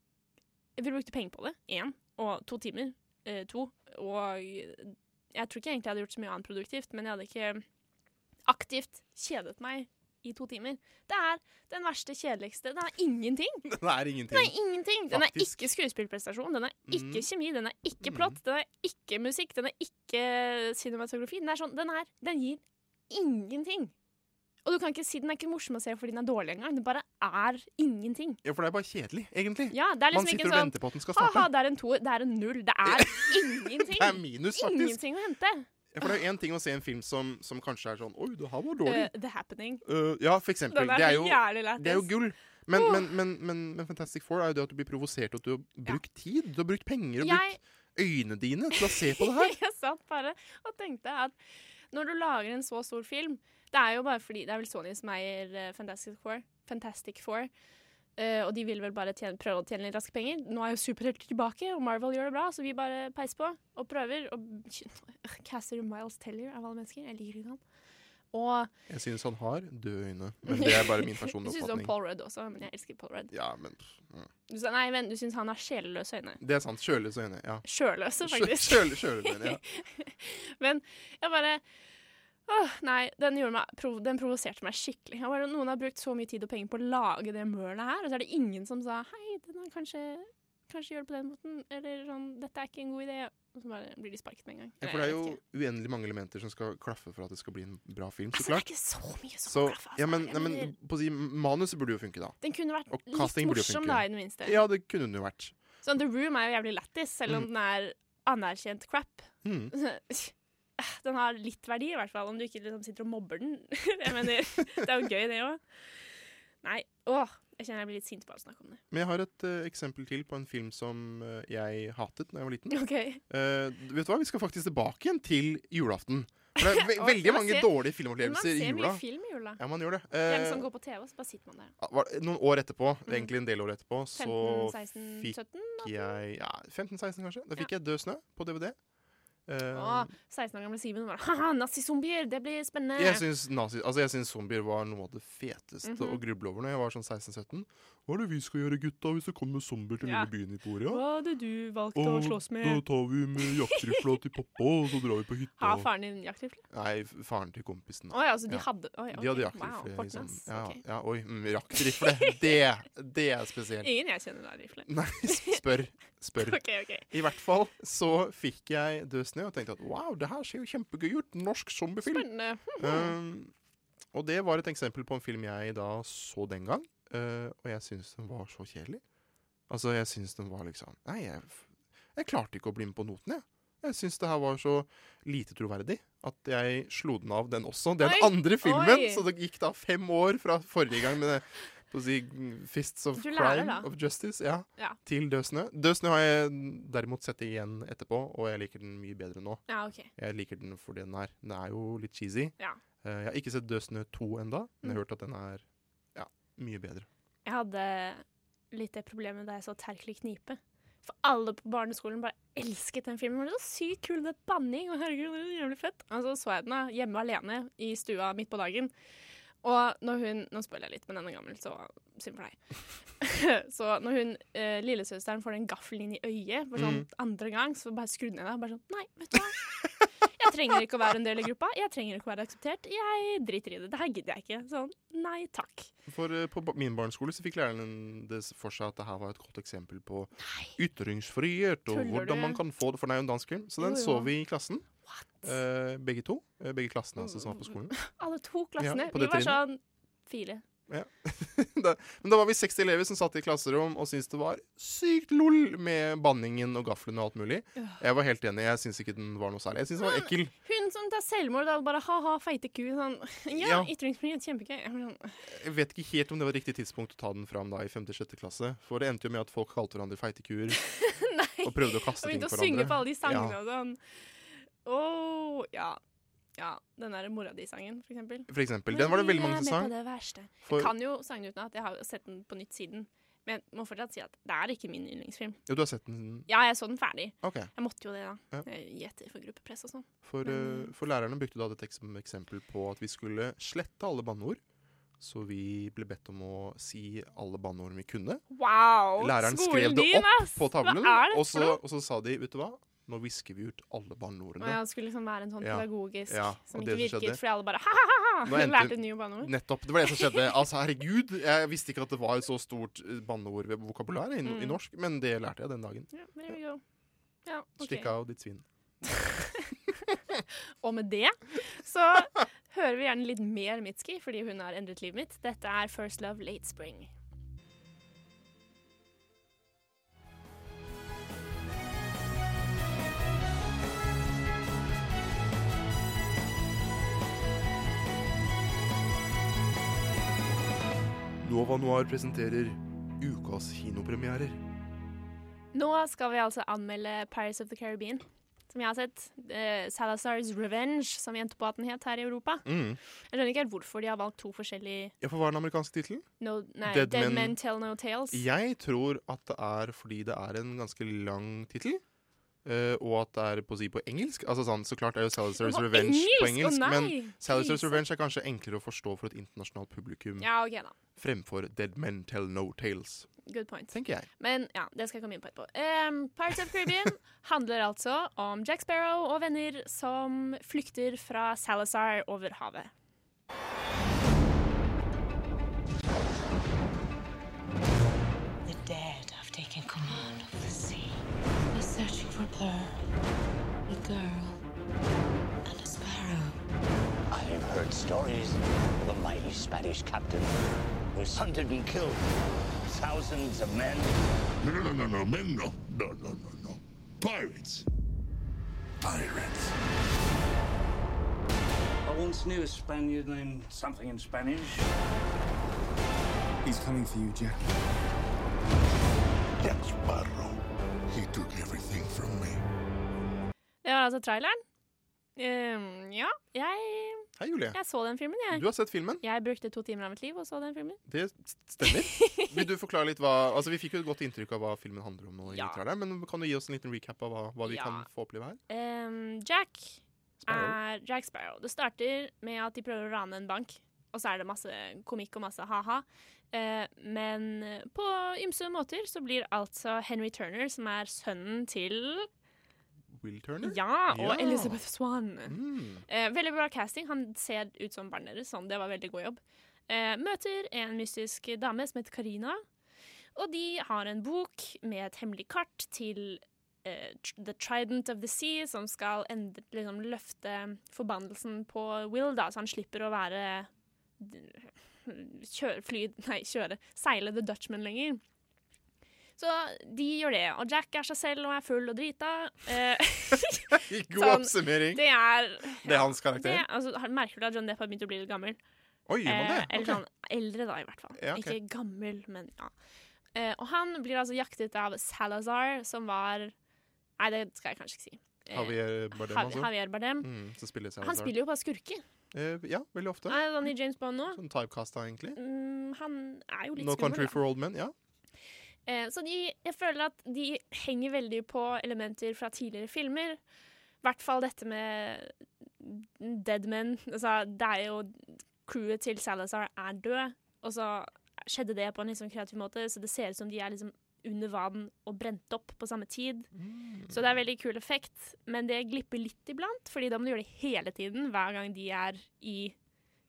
vi brukte penger på det. Én. Og to timer. eh, to. Og jeg tror ikke egentlig jeg hadde gjort så mye annet produktivt, men jeg hadde ikke aktivt kjedet meg i to timer. Det er den verste, kjedeligste. Den er ingenting. Den er Den ingenting. er ingenting. Den er Faktisk. ikke skuespillprestasjon, den er ikke Mm. kjemi, den er ikke plott, den er ikke musikk, den er ikke cinematografi. Den er sånn, den her, den gir ingenting. Og du kan ikke si den er ikke morsom å se fordi den er dårlig engang. Den bare er ingenting. Ja, for det er bare kjedelig, egentlig. Ja, det er liksom Man sitter ikke og sånn venter på at den skal «Haha, starte. det er en toer, det er en null. Det er ingenting. Det er minus, faktisk. Ingenting å hente. Ja, For det er jo én ting å se en film som, som kanskje er sånn Oi, det her var dårlig. Eh, The Happening. Øh, ja, for eksempel. Den er Det er jo, jævlig lættis. det er jo gull. Men, men, men, men, men Fantastic Four er jo det at du blir provosert, og at du har brukt tid. Du har brukt penger og Jeg- brukt øynene dine til å se på det her. jeg satt bare og tenkte at når du lager en så stor film Det er jo bare fordi det er vel Sony som eier eh, Fantastic Four. Fantastic Four. Eh, og de vil vel bare tjene, prøve å tjene litt raske penger. Nå er jo superhelter tilbake, og Marvel gjør det bra, så vi bare peiser på og prøver. Og caster Miles Teller av alle mennesker. Jeg liker ikke han. Og Jeg synes han har døde øyne, men det er bare min personlige Du syns om oppfatning. Paul Rudd også, men jeg elsker Paul Rudd. Ja, men pff, mm. Du, sa- nei, men du syns han har sjelløse øyne. Det er sant. Kjøles øyne. Ja. Sjøløse, Sjø- faktisk. sjøl- sjøløyne, ja. Men jeg bare Åh, nei, den, gjorde meg, prov, den provoserte meg skikkelig. Jeg bare, noen har brukt så mye tid og penger på å lage det mølet her, og så er det ingen som sa hei, den er kanskje, kanskje gjør det på den måten, eller sånn, dette er ikke en god idé. Og så bare blir de sparket med en gang. Ja, for det er jo uendelig mange elementer som skal klaffe for at det skal bli en bra film, så Altså, det er klart. ikke så mye som Så, må klaffe, altså. ja, men, Jeg nei, men mener- på å si, manuset burde jo funke, da. Den kunne vært Og litt casting burde jo morsom funke. da, i det minste. Ja, Mm. det kunne den jo vært. Sånn, The Room er jo jævlig lættis, selv om den er anerkjent crap. Mm. Ah, Den har litt verdi, i hvert fall, om du ikke liksom sitter og mobber den. Jeg mener, Det er jo gøy, det òg. Nei, åh, jeg kjenner jeg blir litt sint bare av å snakke om det. Men jeg har et eh, eksempel til på en film som eh, jeg hatet da jeg var liten. Ok. Eh, vet du hva, Vi skal faktisk tilbake igjen til julaften. For det er ve Åh, veldig man mange ser- dårlige filmopplevelser i jula. Man ser mye film i jula. Ja, man gjør det. Hvem Eh, som går på TV, og så bare sitter man der. ah, var det noen år etterpå, Mm. egentlig en del år etterpå, så 15, 16, fikk 17, jeg ja, 15-16 kanskje. Da fikk jeg Død snø på DVD. Eh, Åh, 16 år gamle Simen bare ha-ha, nazizombier, det blir spennende. Jeg syns nazi- altså jeg syns zombier var noe av det feteste Mhm. å gruble over når jeg var sånn 16-17. Hva er det vi skal gjøre, gutta, hvis det kommer zombier til Ja. lille byen i Poria? Hva hadde du valgt å Og slåss Da med? tar vi med jaktrifla til pappa, og så drar vi på hytta. Har faren din jaktrifle? Nei, f- faren til kompisen. da. Å ja, altså de hadde- oi, ok. De hadde Wow, jaktrifle. Horten, liksom. ass. ja, Ok. ja, oi, mm, jaktrifle. Det, det er spesielt. Ingen jeg kjenner har rifle. Nei, spør. Spør. Ok, ok. I hvert fall så fikk jeg Død snø og tenkte at wow, det her ser jo kjempegøy ut. Norsk zombiefilm. Spennende. Um, og det var et eksempel på en film jeg da så den gang, eh, og jeg syns den var så kjedelig. Altså, jeg syns den var liksom Nei, jeg, f- jeg klarte ikke å bli med på noten, jeg. Jeg syns det her var så lite troverdig at jeg slo den av, den også. Den Oi! andre filmen. Oi! Så det gikk da fem år fra forrige gang med det, på å si, Fists of Du lærer, Crime da. of Justice ja, Ja. til Død snø. Død snø har jeg derimot sett igjen etterpå, og jeg liker den mye bedre nå. Ja, ok. Jeg liker den for det den er. Den er jo litt cheesy. Ja. Eh, jeg har ikke sett Død snø 2 enda, men jeg har Mm. hørt at den er ja, mye bedre. Jeg hadde litt det problemet da jeg så Terkel i knipe. For alle på barneskolen bare elsket den filmen. Det var så sykt kul, det er banning, og herregud, det er jævlig fett. Og så så jeg den da, hjemme alene i stua midt på dagen. Og når hun Nå spoiler jeg litt, men den er gammel, så synd for deg. så når hun eh, lillesøsteren får den gaffelen inn i øyet for sånn Mm. andre gang, så bare skrudde hun ned der. Bare sånn Nei, vet du hva. Jeg trenger ikke å være en del av gruppa. Jeg trenger ikke å være akseptert. Jeg driter i det. Det her gidder jeg ikke. Sånn, nei takk. For eh, på ba- min barneskole så fikk læreren det s- for seg at det her var et godt eksempel på ytringsfrihet og Tuller du? hvordan man kan få det for det er jo en dansk film. Så den Jo, jo. så vi i klassen. Eh, begge to. Eh, begge klassene altså, som var på skolen. Alle to klassene. Ja, på vi det var trinnet. sånn fire. Ja. da, men da var vi 60 elever som satt i klasserom og syntes det var sykt lol med banningen og gaflene og alt mulig. Ja. Jeg var helt enig. Jeg syns ikke den var noe særlig. Jeg syns den var ekkel. Hun som tar selvmord, da bare ha-ha, feite ku. Sånn. Ja, Ja. ytringsfrihet, kjempegøy. Jeg var sånn, Jeg vet ikke helt om det var riktig tidspunkt å ta den fram da i 5.-6. klasse. For det endte jo med at folk kalte hverandre feitekuer og prøvde å Og kaste ting begynte på å synge hverandre. på alle de sangene Ja. og sånn. Åh, ja. Ja, den der mora di-sangen, for eksempel. For eksempel. Den var det veldig Når mange som vi er med sang. på det verste. For- Jeg kan jo sangen utenat. Jeg har jo sett den på nytt siden. Men jeg må fortsatt si at det er ikke min yndlingsfilm. Jo, du har sett den Ja, jeg så den ferdig. Ok. Jeg måtte jo det, da. Ja. Jeg Gjetter for gruppepress og sånn. For, eh, for lærerne brukte da dette som eksempel på at vi skulle slette alle banneord. Så vi ble bedt om å si alle banneordene vi kunne. Wow! Læreren skrev skolen det din, opp ass! på tavlen, Hva er det for og så, noe? og så sa de vet du hva, nå visker vi ut alle banneordene. Og jeg skulle liksom være en sånn Ja. pedagogisk Ja, som og ikke det som virket, skjedde- fordi alle bare ha-ha-ha! Nå endte- Lærte nye banneord. Nettopp. Det var det som skjedde. Altså, herregud, jeg visste ikke at det var et så stort eh, banneord ved vokabular i, Mm. i norsk, men det lærte jeg den dagen. Ja, there we go. Ja, ok. Stikk av ditt svin. Og med det så hører vi gjerne litt mer Mitski, fordi hun har endret livet mitt. Dette er First Love Late Spring. Nova Noir presenterer ukas kinopremierer. Nå skal vi altså anmelde Pirates of the Caribbean, som jeg har sett. Eh, Salazar's Revenge, som vi endte på at den het her i Europa. Mm. Jeg skjønner ikke helt hvorfor de har valgt to forskjellige Ja, for hva er den amerikanske tittelen? no, nei, Dead Dead, Men- Men, Tell No Tales. Jeg tror at det er fordi det er en ganske lang tittel. eh, og at det er på, å si på engelsk. Altså sånn, Så klart er jo Salisbury's Å, Revenge på engelsk! Å, engelsk, nei! men Salisbury's Krise. Revenge er kanskje enklere å forstå for et internasjonalt publikum Ja, OK, da. fremfor Dead Men Tell No Tales. Good point. Tenker jeg. Men ja, det skal jeg komme inn på etterpå. Em, Pirates of the Caribbean handler altså om Jack Sparrow og venner som flykter fra Salazar over havet. The dead have taken command of the sea. We're searching for her, a girl, and a sparrow. I have heard stories of a mighty Spanish captain whose son did be killed. Thousands of men. No, no, no, no, no, men, no. No, no, no, no. Pirates. Pirates. I once knew a Spaniard named something in Spanish. He's coming for you, Jack. Jack Sparrow. He took everything from me. Det var altså traileren. Em, ja, jeg, Hei, Julie. jeg så den filmen, jeg. Du har sett filmen. Jeg brukte to timer av mitt liv og så den filmen. Det s- stemmer. Vil du forklare litt hva Altså, Vi fikk jo et godt inntrykk av hva filmen handler om, nå, i traileren, men kan du gi oss en liten recap av hva, hva vi Ja. kan få oppleve her? Em, Jack Sparrow. er Jack Sparrow. Det starter med at de prøver å rane en bank, og så er det masse komikk og masse ha-ha. Eh, men på ymse måter så blir altså Henry Turner, som er sønnen til Will Turner? Ja, og Ja. Elizabeth Swann. Mm. Eh, veldig bra casting. Han ser ut som barnet deres, sånn det var veldig god jobb. Eh, møter en mystisk dame som heter Karina, og de har en bok med et hemmelig kart til eh, tr- The Trident of the Sea, som skal endre, liksom, løfte forbannelsen på Will, da, så han slipper å være kjøre, fly, nei, kjøre, seile The Dutchman lenger. Så de gjør det, og Jack er seg selv og er full og drita. Eh, God Sånn, oppsummering. det er Det er hans karakter. det, altså, har- merker du at John Depp har begynt å bli litt gammel? Oi, gjør man det? Eh, eller Ok. sånn eldre, da, i hvert fall. Ja, ok. Ikke gammel, men ja. Eh, og han blir altså jaktet av Salazar, som var Nei, det skal jeg kanskje ikke si. Eh, Javier Bardem, Javi- altså. Javier Bardem. Mm, som spiller Salazar. Han spiller jo bare skurker. Eh, Ja, veldig ofte. Han er sånn i James Bond nå. Sånn typecasta, egentlig. Mm, han er jo litt No skummel, da. Country for Old Men, ja. Eh, så de, jeg føler at de henger veldig på elementer fra tidligere filmer. I hvert fall dette med dead men. Altså, det er jo Crewet sånn til Salazar er død, og så skjedde det på en liksom kreativ måte, så det ser ut som de er liksom under vann og brent opp på samme tid. Så det er veldig kul effekt, men det glipper litt iblant, fordi da må du gjøre det hele tiden, hver gang de er i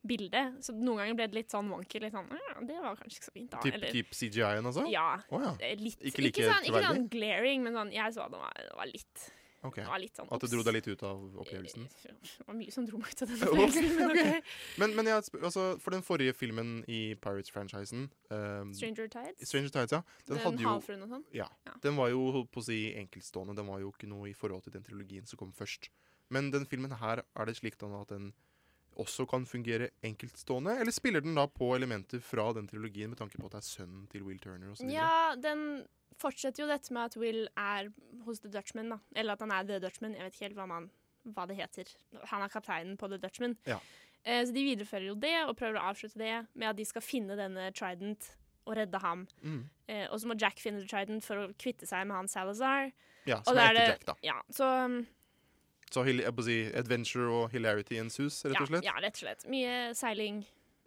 bildet. Så noen ganger ble det litt sånn wonky, litt sånn, ja, det var kanskje ikke så fint da. Typ, eller- typ CGI-en, altså? Ja, Å ja. eh, litt. Ikke like sånn, ikke troverdig? sånn glaring, men sånn, jeg så det var, det var litt. Ok. Det var litt sånn, At det ops. dro deg litt ut av opplevelsen? Det var mye som dro meg ut av den Ops, opplevelsen, men ok. ok. Men, men jeg, har et sp- altså, for den forrige filmen i Pirates-franchisen ehm, Stranger Tides? Stranger Tides, ja. Den, Den hadde jo, havfruen og sånn? Ja. Ja. Den var jo holdt på å si enkeltstående. Den var jo ikke noe i forhold til den trilogien som kom først. Men den filmen her, er det slik da at den også kan fungere enkeltstående? Eller spiller den da på elementer fra den trilogien med tanke på at det er sønnen til Will Turner osv.? Ja, den fortsetter jo dette med at Will er hos The Dutchman, da. Eller at han er The Dutchman, jeg vet ikke helt hva, man, hva det heter. Han er kapteinen på The Dutchman. Ja. Eh, så de viderefører jo det, og prøver å avslutte det med at de skal finne denne Trident og redde ham. Mm. Eh, og så må Jack finne The Trident for å kvitte seg med han Salazar. Ja, Og som da er etter Jack, da. Ja, så... um, Så hil- jeg på å si adventure og hilarity ensues, rett og ja, slett? ja, rett og slett. Mye seiling.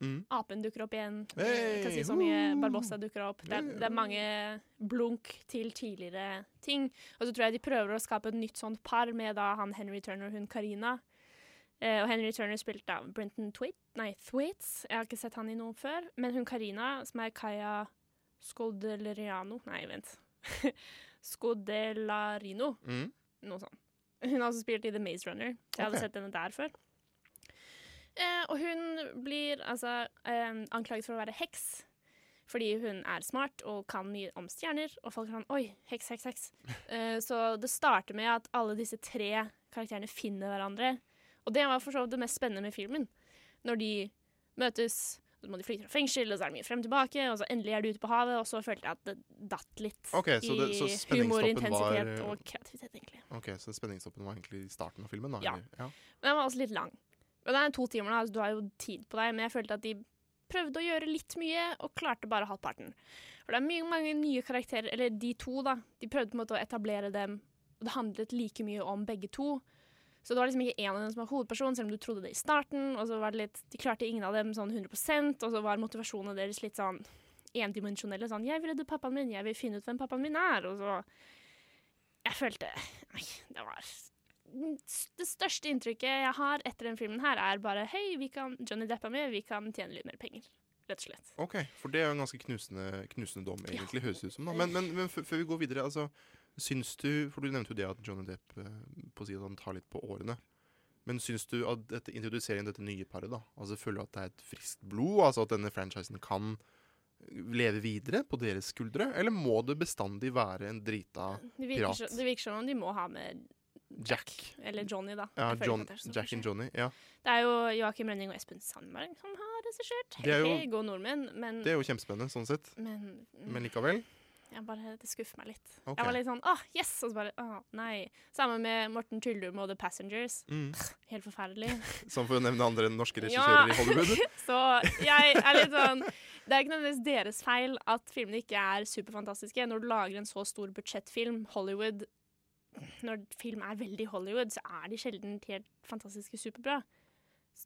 Mm. Apen dukker opp igjen. Eh, Hey, Jeg kan si så mye Barbossa dukker opp. Det er, det er mange blunk til tidligere ting. Og så tror jeg de prøver å skape et nytt sånt par med da han Henry Turner og hun Karina. Eh, og Henry Turner spilte av Brenton Twait, nei, Thwaites. Jeg har ikke sett han i noe før. Men hun Karina, som er Kaya Scodeleriano Nei, vent. Scodelarino. Mm. Noe sånt. Hun har også spilt i The Maze Runner. Jeg hadde Ok. sett henne der før. Eh, og hun blir altså eh, anklaget for å være heks. Fordi hun er smart og kan mye om stjerner, og folk er sånn Oi, heks, heks, heks. Eh, så det starter med at alle disse tre karakterene finner hverandre. Og det var for så vidt det mest spennende med filmen. Når de møtes, så må de flykte fra fengsel, og så er det mye frem og tilbake, og så endelig er de ute på havet, og så følte jeg at det datt litt Ok, så det- i så humor, spenningstoppen var- eh, intensitet og kreativitet, egentlig. Ok, Så spenningstoppen var egentlig i starten av filmen? da? Ja. eller? ja. Men den var også litt lang. Og det er to timer, da, så du har jo tid på deg, men jeg følte at de prøvde å gjøre litt mye, og klarte bare halvparten. For det er mye, mange nye karakterer, eller de to, da. De prøvde på en måte å etablere dem, og det handlet like mye om begge to. Så det var liksom ikke én av dem som var hovedperson, selv om du trodde det i starten. Og så var det litt, De klarte ingen av dem sånn 100 og så var motivasjonene deres litt sånn endimensjonelle. Sånn 'Jeg vil redde pappaen min. Jeg vil finne ut hvem pappaen min er.' Og så Jeg følte Nei, det var Det største inntrykket jeg har etter den filmen her, er bare 'Hei, vi kan Johnny Depp er med. Vi kan tjene litt mer penger.' Rett og slett. Ok, for det er jo en ganske knusende, knusende dom, egentlig, høres det ut som. da. Men, men, men f- før vi går videre, altså, syns du For du nevnte jo det at Johnny Depp eh, på å si at han tar litt på årene. Men syns du at dette, introduseringen av dette nye paret, da, altså føler du at det er et friskt blod? Altså at denne franchisen kan leve videre på deres skuldre? Eller må det bestandig være en drita Det virker, pirat? så, det virker som om de må ha med Jack. Eller Johnny, da. Ja, Jeg føler John, ikke at det er så Jack and Johnny. Ja. Det er jo Joakim Rønning og Espen Sandberg som har regissert. Det er jo- Hei, gode nordmenn. Men, Det er jo kjempespennende, sånn sett. Men- men likevel. jeg bare, det skuffer meg litt. Ok. Jeg var litt sånn åh, yes! Og så bare åh, nei. Sammen med Morten Tyldum og The Passengers. Mm. Helt forferdelig. Som for å nevne andre norske regissører i Hollywood. så jeg er litt sånn Det er ikke nødvendigvis deres feil at filmene ikke er superfantastiske. Når du lager en så stor budsjettfilm, Hollywood Når film er veldig Hollywood, så er de sjelden helt fantastiske superbra.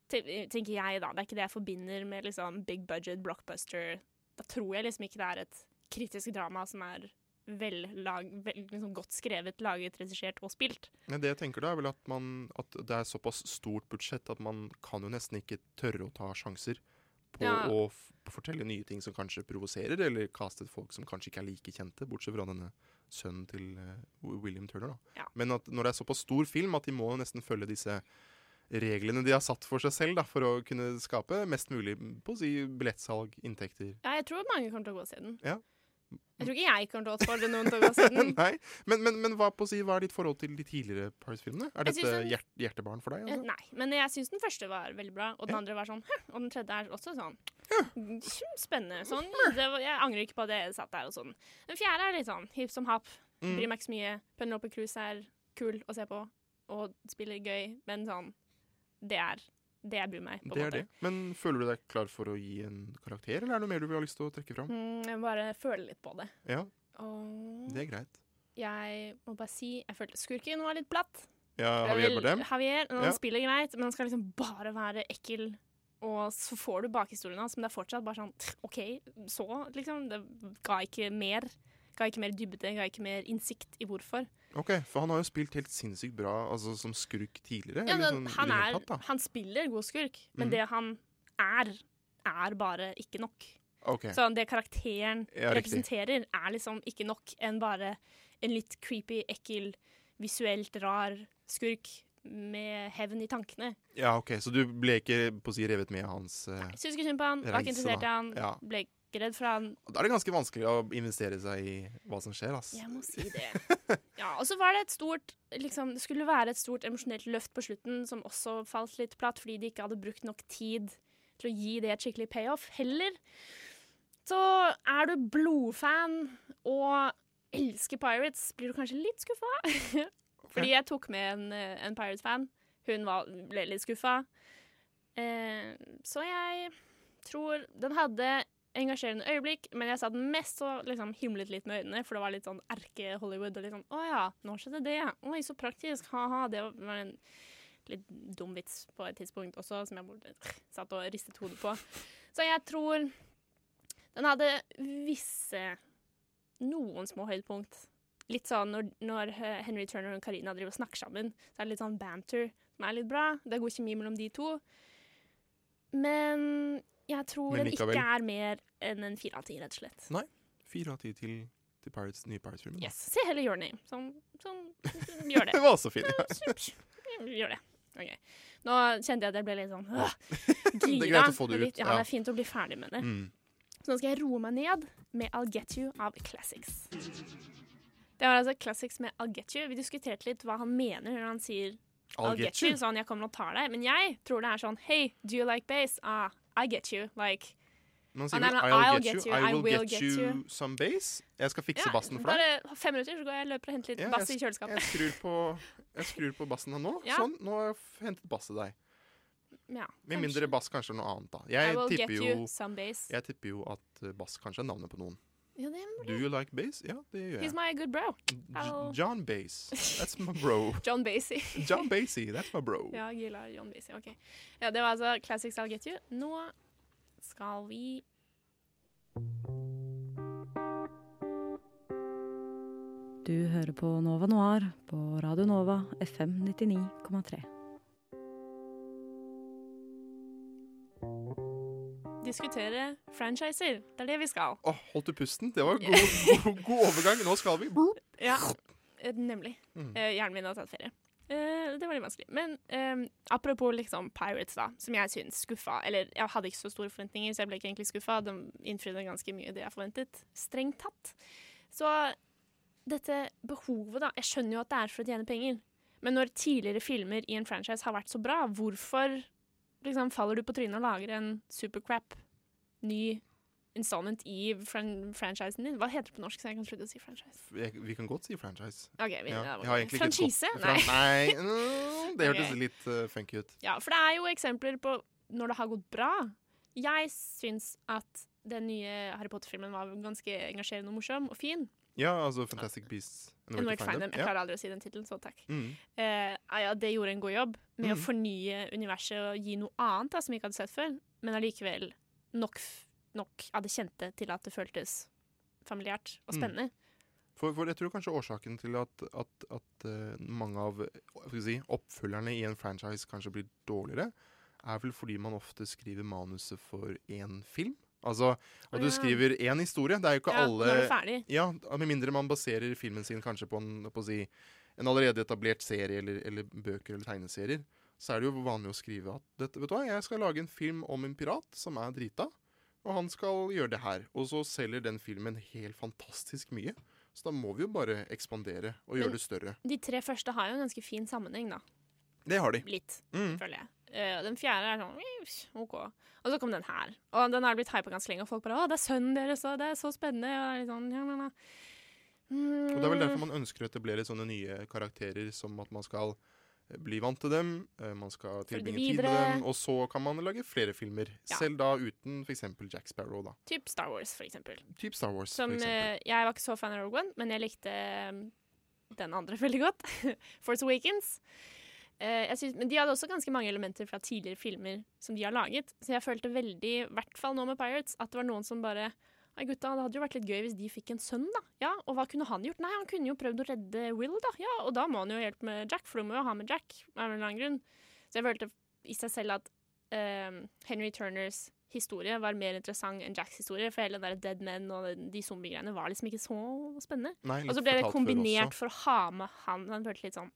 Te- Tenker jeg, da. Det er ikke det jeg forbinder med liksom big budget, blockbuster. Da tror jeg liksom ikke det er et kritisk drama som er vel, lag, vel liksom godt skrevet, laget, regissert og spilt. Nei, det jeg tenker da er vel at, man, at det er såpass stort budsjett at man kan jo nesten ikke tørre å ta sjanser på Ja. å f fortelle nye ting som kanskje provoserer, eller kaste folk som kanskje ikke er like kjente, bortsett fra denne sønnen til eh, Wi- William Turner. Da. Ja. Men at når det er såpass stor film at de må nesten følge disse reglene de har satt for seg selv da, for å kunne skape mest mulig mm, på å si billettsalg, inntekter. Ja, jeg tror mange kommer til å gå og se den. Ja. Jeg tror ikke jeg kommer til å oppfordre noen til å gå og se den. Nei, men, men, men hva, på å si, hva er ditt forhold til de tidligere Paris-filmene? Er Jeg synes dette den- hjert hjertebarn for deg? Eh, Altså? Nei, men jeg syns den første var veldig bra, og den andre var sånn «Hm», Og den tredje er også sånn «Hm, spennende. Sånn, det var, jeg angrer ikke på at jeg satt der og sånn. Den fjerde er litt sånn hipp som happ. Mm. Bryr meg ikke så mye. Penelope Cruise er kul å se på og spiller gøy, men sånn Det er det jeg bryr meg på. en Det er måte. det. Men føler du deg klar for å gi en karakter, eller er det noe mer du vil ha lyst til å trekke fram? Mm, jeg må bare føler litt på det. Ja, Og det er greit. jeg må bare si jeg følte skurken var litt platt. Det Ja, er Javier vel- Bardem? Javier, han Ja. spiller greit, men han skal liksom bare være ekkel. Og så får du bakhistorien hans, men det er fortsatt bare sånn OK, så, liksom. Det ga ikke mer. Ga ikke mer dybde, ga ikke mer innsikt i hvorfor. Ok, For han har jo spilt helt sinnssykt bra altså, som skurk tidligere. Ja, eller men sånn i han, det er, hele tatt, da. han spiller god skurk, men Mhm. det han er, er bare ikke nok. Ok. Så det karakteren Ja, riktig. representerer, er liksom ikke nok enn bare en litt creepy, ekkel, visuelt rar skurk med hevn i tankene. Ja, ok, Så du ble ikke på å si revet med i hans eh, Jeg synes ikke synd på han, var reise, ikke interessert i da. han, Ja. ble ikke redd for han. Da er det ganske vanskelig å investere seg i hva som skjer. ass. Jeg må si det. Ja, og så var det et stort liksom, Det skulle være et stort emosjonelt løft på slutten, som også falt litt platt fordi de ikke hadde brukt nok tid til å gi det et skikkelig payoff. Heller så er du blodfan og elsker Pirates, blir du kanskje litt skuffa. Fordi jeg tok med en, eh, en Pirates-fan. Hun var, ble litt skuffa. Eh, så jeg tror Den hadde engasjerende øyeblikk, men jeg satt mest og liksom himlet litt med øynene, for det var litt sånn erke-Hollywood. Og litt sånn 'Å ja, nå skjedde det. Oi, så praktisk. Ha-ha.' Det var en litt dum vits på et tidspunkt også, som jeg bare satt og ristet hodet på. Så jeg tror den hadde visse noen små høydepunkt. Litt sånn når, når Henry Turner og Karina driver og snakker sammen, så er det litt sånn banter som er litt bra. Det er god kjemi mellom de to. Men jeg tror Men den ikke likevel. er mer enn en fire av ti, rett og slett. Nei. Fire av ti til, til Pirates, nye Pirates-filmen. da. Yes. Se heller Your Name, som, som gjør det. Det var også fint, ja. Ja. Gjør det. Ok. Nå kjente jeg at jeg ble litt sånn øh, Det er gira. greit å få det Litt- ut, Ja, ja. det er fint å bli ferdig med det. Mm. Så nå skal jeg roe meg ned med I'll Get You av Classics. Det var altså Classics med I'll Get You. Vi diskuterte litt hva han mener når han sier I'll I'll, get, get you. you. Sånn, jeg kommer og tar deg. Men jeg tror det er sånn Hey, do you like bass? Ah, I get you. Like Ah, Men han sier nei, vel, men I'll, get, you, I will get, you, you. some bass. Jeg skal fikse Ja, bassen for deg. Bare fem minutter, så går jeg og løper og henter litt Ja, bass i jeg sk- kjøleskapet. Jeg skrur på, jeg skrur på bassen her nå. Ja. Sånn, nå har jeg f- hentet bass til deg. Ja, Med kanskje. mindre bass kanskje er noe annet, da. I Jeg will get tipper jo, you some bass. jeg tipper jo at eh, bass kanskje er navnet på noen. Ja, det må Do you like bass? Ja, det gjør He's jeg. my good bro. I'll- John Bass. That's my bro. John Basie. John Basie, that's my bro. Ja, Gila John Basie. OK. Ja, det var altså Classics I'll Get You. Nå skal vi Du hører på Nova Noir på Radio Nova FM 99,3. diskutere franchiser. Det er det vi skal. Åh, holdt du pusten? Det var god, god, god overgang. Nå skal vi. Ja, eh, nemlig. Mm. Eh, hjernen min har tatt ferie. Eh, det var litt vanskelig. Men eh, apropos liksom Pirates, da, som jeg syns skuffa Eller jeg hadde ikke så store forventninger, så jeg ble ikke egentlig skuffa. De innfridde ganske mye det jeg forventet. Strengt tatt. Så dette behovet, da Jeg skjønner jo at det er for å tjene penger. Men når tidligere filmer i en franchise har vært så bra, hvorfor liksom, faller du på trynet og lager en supercrap ny installment i fran franchisen din? Hva heter det på norsk, så jeg kan slutte å si franchise? Jeg, vi kan godt si franchise. Ok, vi- ja. det var Jeg har det. egentlig ikke et godt- Franchise? Fra, Nei. nei, mm, det hørtes Ok. litt eh, funky ut. Ja, for det er jo eksempler på når det har gått bra. Jeg syns at den nye Harry Potter-filmen var ganske engasjerende og morsom og fin. Ja, altså Fantastic Beasts. and And Where to Find Them. Jeg Ja. klarer aldri å si den tittelen, så takk. Mm. Eh, ah ja, det gjorde en god jobb med å Mm. fornye universet og gi noe annet da, som vi ikke hadde sett før, men allikevel nok, f- nok av det kjente til at det føltes familiært og Mm. spennende. For, for jeg tror kanskje årsaken til at, at, at eh, mange av eh, hva skal jeg si, oppfølgerne i en franchise kanskje blir dårligere, er vel fordi man ofte skriver manuset for én film. Altså Å, at du ja. skriver én historie. Det er jo ikke Ja, alle når det er ferdig. Ja, Med mindre man baserer filmen sin kanskje på en, på å si, en allerede etablert serie eller, eller bøker eller tegneserier. Så er det jo vanlig å skrive at dette, vet du hva, jeg skal lage en film om en pirat som er drita. Og han skal gjøre det her. Og så selger den filmen helt fantastisk mye. Så da må vi jo bare ekspandere og Men- gjøre det større. De tre første har jo en ganske fin sammenheng, da. Det har de. Litt, Mm. føler jeg. Eh, og den fjerde er sånn eh, OK. Og så kom den her. Og den har blitt hypa ganske lenge, og folk bare 'Å, det er sønnen deres, og det er så spennende', og det er litt sånn ja, Mm, men, ja. Og det er vel derfor man ønsker å etablere sånne nye karakterer, som at man skal eh, bli vant til dem, eh, man skal Følge tilbringe tid med videre. dem, og så kan man lage flere filmer. Ja. Selv da uten f.eks. Jack Sparrow, da. Typ Star Wars, for eksempel. Typ Star Wars, Som, for eksempel. eh, jeg var ikke så fan av Rogue One, men jeg likte eh, den andre veldig godt. Force Awakens. Eh, jeg synes, men de hadde også ganske mange elementer fra tidligere filmer som de har laget. Så jeg følte veldig, i hvert fall nå med Pirates, at det var noen som bare Nei, gutta, Det hadde jo vært litt gøy hvis de fikk en sønn, da. Ja, Og hva kunne han gjort? Nei, han kunne jo prøvd å redde Will, da. Ja, Og da må han jo hjelpe med Jack, for du må jo ha med Jack. Av en eller annen grunn. Så jeg følte i seg selv at eh, Henry Turners historie var mer interessant enn Jacks historie. For hele den der Dead Men og den- de zombiegreiene var liksom ikke så spennende. Nei, litt og så altså, ble det fortalt før kombinert også. for å ha med han. Han følte litt sånn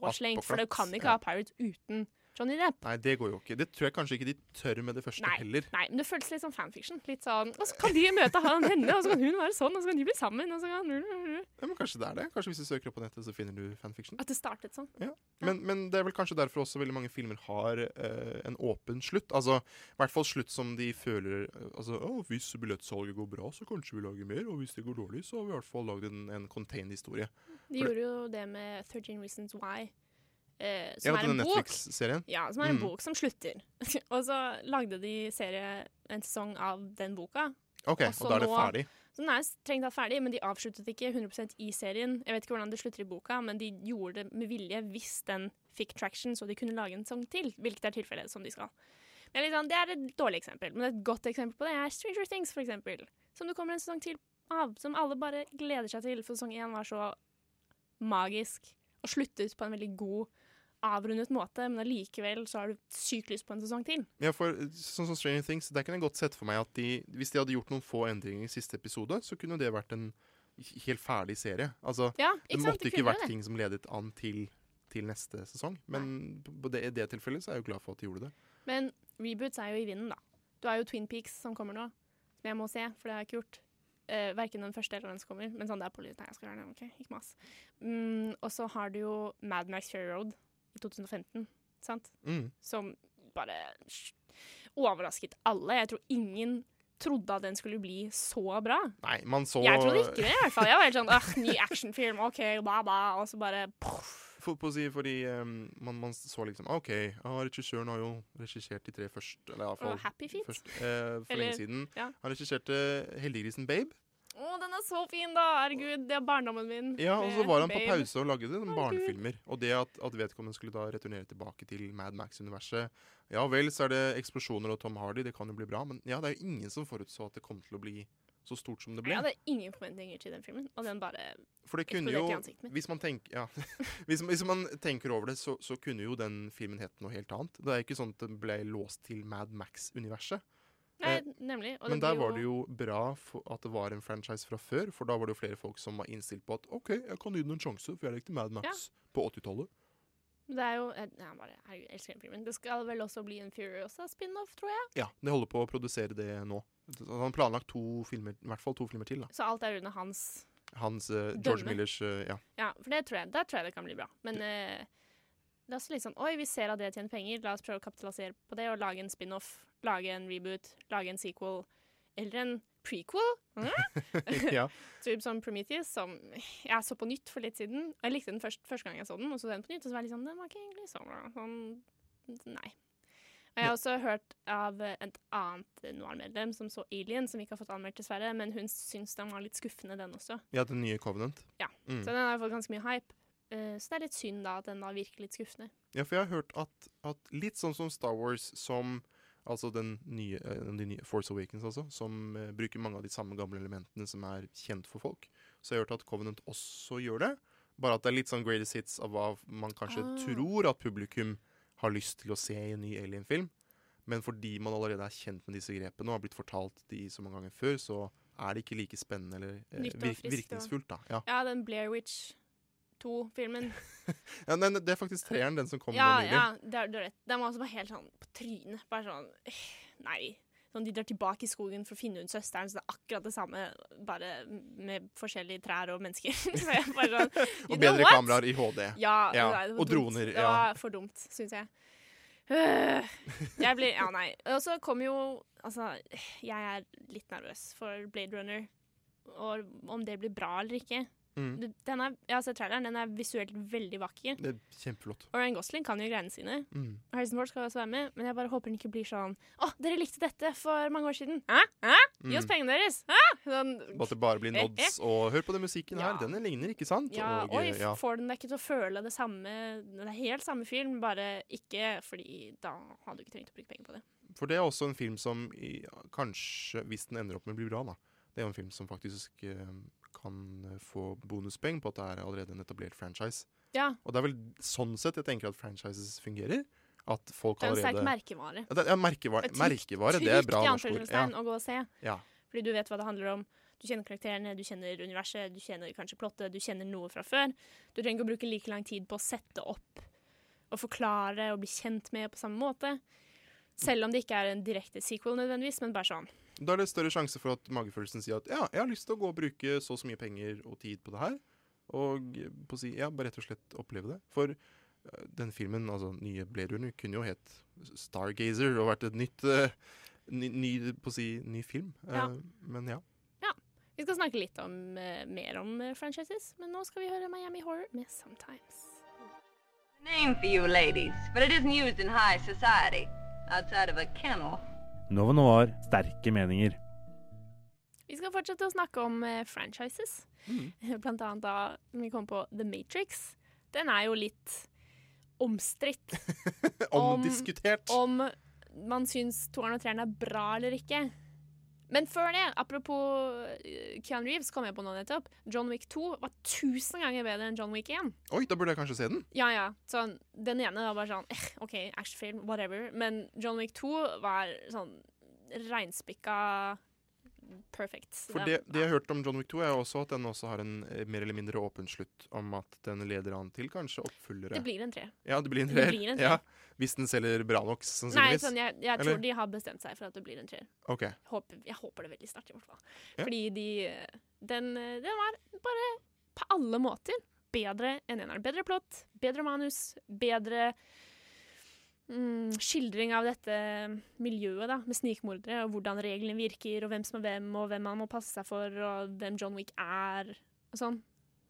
påslengt, for du kan Attpåklatt, ikke ja. ha Pirates uten Johnny Depp. Nei, det går jo ikke. Det tror jeg kanskje ikke de tør med det første Nei, heller. nei, men det føltes litt som fanfiction. Litt sånn, Og så kan de møte han henne, og så kan hun være sånn, og så kan de bli sammen. Og så kan... Ja, men kanskje det er det? Kanskje hvis du søker opp på nettet, så finner du fanfiction? At det startet sånn. Men, men det er vel kanskje derfor også veldig mange filmer har eh, en åpen slutt. Altså, I hvert fall slutt som de føler eh, altså, «Å, Hvis billettsalget går bra, så kanskje vi lager mer. Og hvis det går dårlig, så har vi i hvert fall lagd en, en contained historie. De For det- gjorde jo det med 13 Reasons Why. Eh, Ja, som er denne en bok. Netflix-serien. Ja, som er en Mm. bok som slutter. og så lagde de serie, en sesong av den boka. Ok, så og da er det nå- ferdig. Så den er strengt tatt ferdig, men de avsluttet ikke 100 i serien. Jeg vet ikke hvordan det slutter i boka, men de gjorde det med vilje hvis den fikk traction, så de kunne lage en sang til, hvilket er tilfellet som de skal. Men litt sånn, Det er et dårlig eksempel, men et godt eksempel på det er Stranger Things, for eksempel. Som det kommer en sesong til av, som alle bare gleder seg til, for sesong én var så magisk og sluttet på en veldig god, avrundet måte, men allikevel så har du sykt lyst på en sesong til. Ja, for eh, sånn som Stranger Things, der kan jeg godt sette for meg at de, hvis de hadde gjort noen få endringer i siste episode, så kunne det vært en h- helt ferdig serie. Altså, Ja, det ikke sant? måtte Det ikke kunne vært det. ting som ledet an til, til neste sesong. Men på det, i det tilfellet så er jeg jo glad for at de gjorde det. Men reboots er jo i vinden, da. Du har jo Twin Peaks som kommer nå, som jeg må se, for det har jeg ikke gjort. Uh, verken den første eller den som kommer. Men sånn det er på litt. Nei, jeg skal gjøre det. ok, ikke mas. Mm, og så har du jo Mad Max Fury Road i 2015, sant? Mm. Som bare sj- overrasket alle. Jeg tror ingen trodde at den skulle bli så bra. Nei, man så Jeg trodde ikke det, i hvert fall. Jeg var helt sånn «Åh, ny actionfilm, OK, ba, ba. Og så bare For, på å si, fordi ehm, man, man så liksom OK, ah, regissøren har jo regissert de tre først. Eller iallfall Og Happy Feet. Først, eh, for Eller- lenge siden. ja. Han regisserte 'Heldiggrisen Babe'. Å, den er så fin, da! Herregud, det er barndommen min. Ja, og så med var han på Babe. pause og lagde sånne barnefilmer. Og det at, at vedkommende skulle da returnere tilbake til Mad Max-universet Ja vel, så er det eksplosjoner og Tom Hardy, det kan jo bli bra, men ja, det er jo ingen som forutså at det kom til å bli så stort som det Jeg ble. hadde ingen forventninger til den filmen, og den bare For det kunne jo eksploderte i ansiktet mitt. hvis man, tenk, ja, hvis, hvis man tenker over det, så, så kunne jo den filmen hett noe helt annet. Det er ikke sånn at den ble låst til Mad Max-universet. Nei, Eh, nemlig. Og Men det der blir var det jo bra for at det var en franchise fra før, for da var det jo flere folk som var innstilt på at OK, jeg kan gi den en sjanse, for jeg likte Mad Max på 80-tallet. Men Det er jo eh, Nei, bare, herregud, jeg elsker den filmen. Det skal vel også bli en Furiosa-spin-off, tror jeg. Ja, de holder på å produsere det nå. Så Han har planlagt to filmer, i hvert fall to filmer til. da. Så alt er under hans Hans eh, George Dømme. Millers eh, Ja. Ja, for det tror jeg, der tror jeg det kan bli bra. Men eh, det er også litt sånn Oi, vi ser at det tjener penger, la oss prøve å kapitalisere på det og lage en spin-off. Lage en reboot. Lage en sequel. Eller en prequel. Hæ? Ja. Typ som Prometheus, som jeg så på nytt for litt siden. Og jeg likte den først, første gang jeg så den, og så den på nytt, og så var jeg litt sånn Den var ikke egentlig så bra. Sånn Nei. Og jeg har også hørt av eh, et annet noir-medlem som så Alien, som vi ikke har fått anmeldt, dessverre, men hun syns den var litt skuffende, den også. ja, den nye Covenant. Ja, Mm. så den har fått ganske mye hype. Eh, så det er litt synd da at den da virker litt skuffende. Ja, for jeg har hørt at, at litt sånn som Star Wars, som altså den nye, eh, de nye Force Awakens altså, som eh, bruker mange av de samme gamle elementene som er kjent for folk, så jeg har hørt at Covenant også gjør det, bare at det er litt sånn greatest hits av hva man kanskje Ah. tror at publikum har lyst til å se i en ny Alien-film, men fordi man allerede er kjent med disse grepene og har blitt fortalt de så mange ganger før, så er det ikke like spennende eller eh, Nytt og virk, friskt og- virkningsfullt da. Ja. Ja, den Blair Witch 2-filmen. Ja, nei, nei, det er faktisk treeren, den som kom ja, nå nylig. ja, det er, du har rett. Den var også bare helt sånn på trynet. Bare sånn eh, Nei. Sånn, de drar tilbake i skogen for å finne hun søsteren, så det er akkurat det samme, bare med forskjellige trær og mennesker. så jeg bare sånn you Og know bedre what? kameraer i HD. Ja, Ja, nei, det var og dumt. droner, Det ja. var for dumt, syns jeg. Øh, Jeg blir Ja, nei. Og så kom jo Altså, jeg er litt nervøs for Blade Runner. Og om det blir bra eller ikke. Mm. Du- Den er, jeg har sett traileren. Den er visuelt veldig vakker. Det er kjempeflott. Og Ryan Gosling kan jo greiene sine. Mm. Harrison Ford skal også være med, men jeg bare håper den ikke blir sånn Å, dere likte dette for mange år siden. Hæ? Hæ? Gi oss Mm. pengene deres! Hæ? Sånn, Og at det bare blir Eh, eh. nods og Hør på den musikken her, denne ligner, ikke sant? ja, og, oi, eh, ja. får den deg ikke til å føle det samme Det er helt samme film, bare ikke fordi da hadde du ikke trengt å bruke penger på det. For det er også en film som i, kanskje, hvis den ender opp med å bli bra, da, Det er jo en film som faktisk eh, kan få bonuspoeng på at det er allerede en etablert franchise. Ja. Og det er vel sånn sett jeg tenker at franchises fungerer. At folk Det er en allerede sterk merkevare. Ja, det, ja merkevare, Et trygt- merkevare det er bra trygt i norsk ord. Ja. anførselstegn å gå og se. Ja. Fordi du vet hva det handler om. Du kjenner karakterene, du kjenner universet, du kjenner kanskje plottet, du kjenner noe fra før. Du trenger ikke å bruke like lang tid på å sette opp og forklare og bli kjent med på samme måte. Selv om det ikke er en direkte sequel nødvendigvis, men bare sånn. Da er det større sjanse for at magefølelsen sier at ja, jeg har lyst til å gå og bruke så og så mye penger og tid på det her. Og eh, på å si, ja, bare rett og slett oppleve det. For eh, den filmen, altså den nye Blade Runner, kunne jo hett Stargazer og vært et nytt eh, ny, ny, på å si, ny film. Eh, Ja. Men ja. Ja. Vi skal snakke litt om, eh, mer om eh, franchises, men nå skal vi høre Miami Horror med Sometimes. Name for you ladies, but it isn't used in high society outside of a kennel. Nova Noir sterke meninger. Vi skal fortsette å snakke om eh, franchises. Blant annet da vi kom på The Matrix. Den er jo litt omstridt. Om- Omdiskutert. Om, man syns toeren og treeren er bra eller ikke. Men før det, apropos eh, Keanu Reeves, kom jeg på noe nettopp. John Wick 2 var tusen ganger bedre enn John Wick 1. Oi, da burde jeg kanskje se den. Ja, ja. Sånn, den ene var bare sånn eh, OK, actionfilm, whatever. Men John Wick 2 var sånn reinspikka perfect. For det, det jeg hørte om John Wick 2, er også at den også har en eh, mer eller mindre åpen slutt. Om at den leder an til kanskje oppfølgere. Det blir en treer. Ja, det blir en Det treer. blir en Ja, treer. hvis den selger bra nok, Nei, sannsynligvis. sånn, jeg, jeg Eller? tror de har bestemt seg for at det blir en treer. Ok. Håper, jeg håper det veldig snart, i hvert fall. Ja. Fordi de den, den var bare på alle måter bedre enn eneren. Bedre plott, bedre manus, bedre mm, skildring av dette miljøet da, med snikmordere, og hvordan reglene virker, og hvem som er hvem, og hvem man må passe seg for, og hvem John Wick er, og sånn.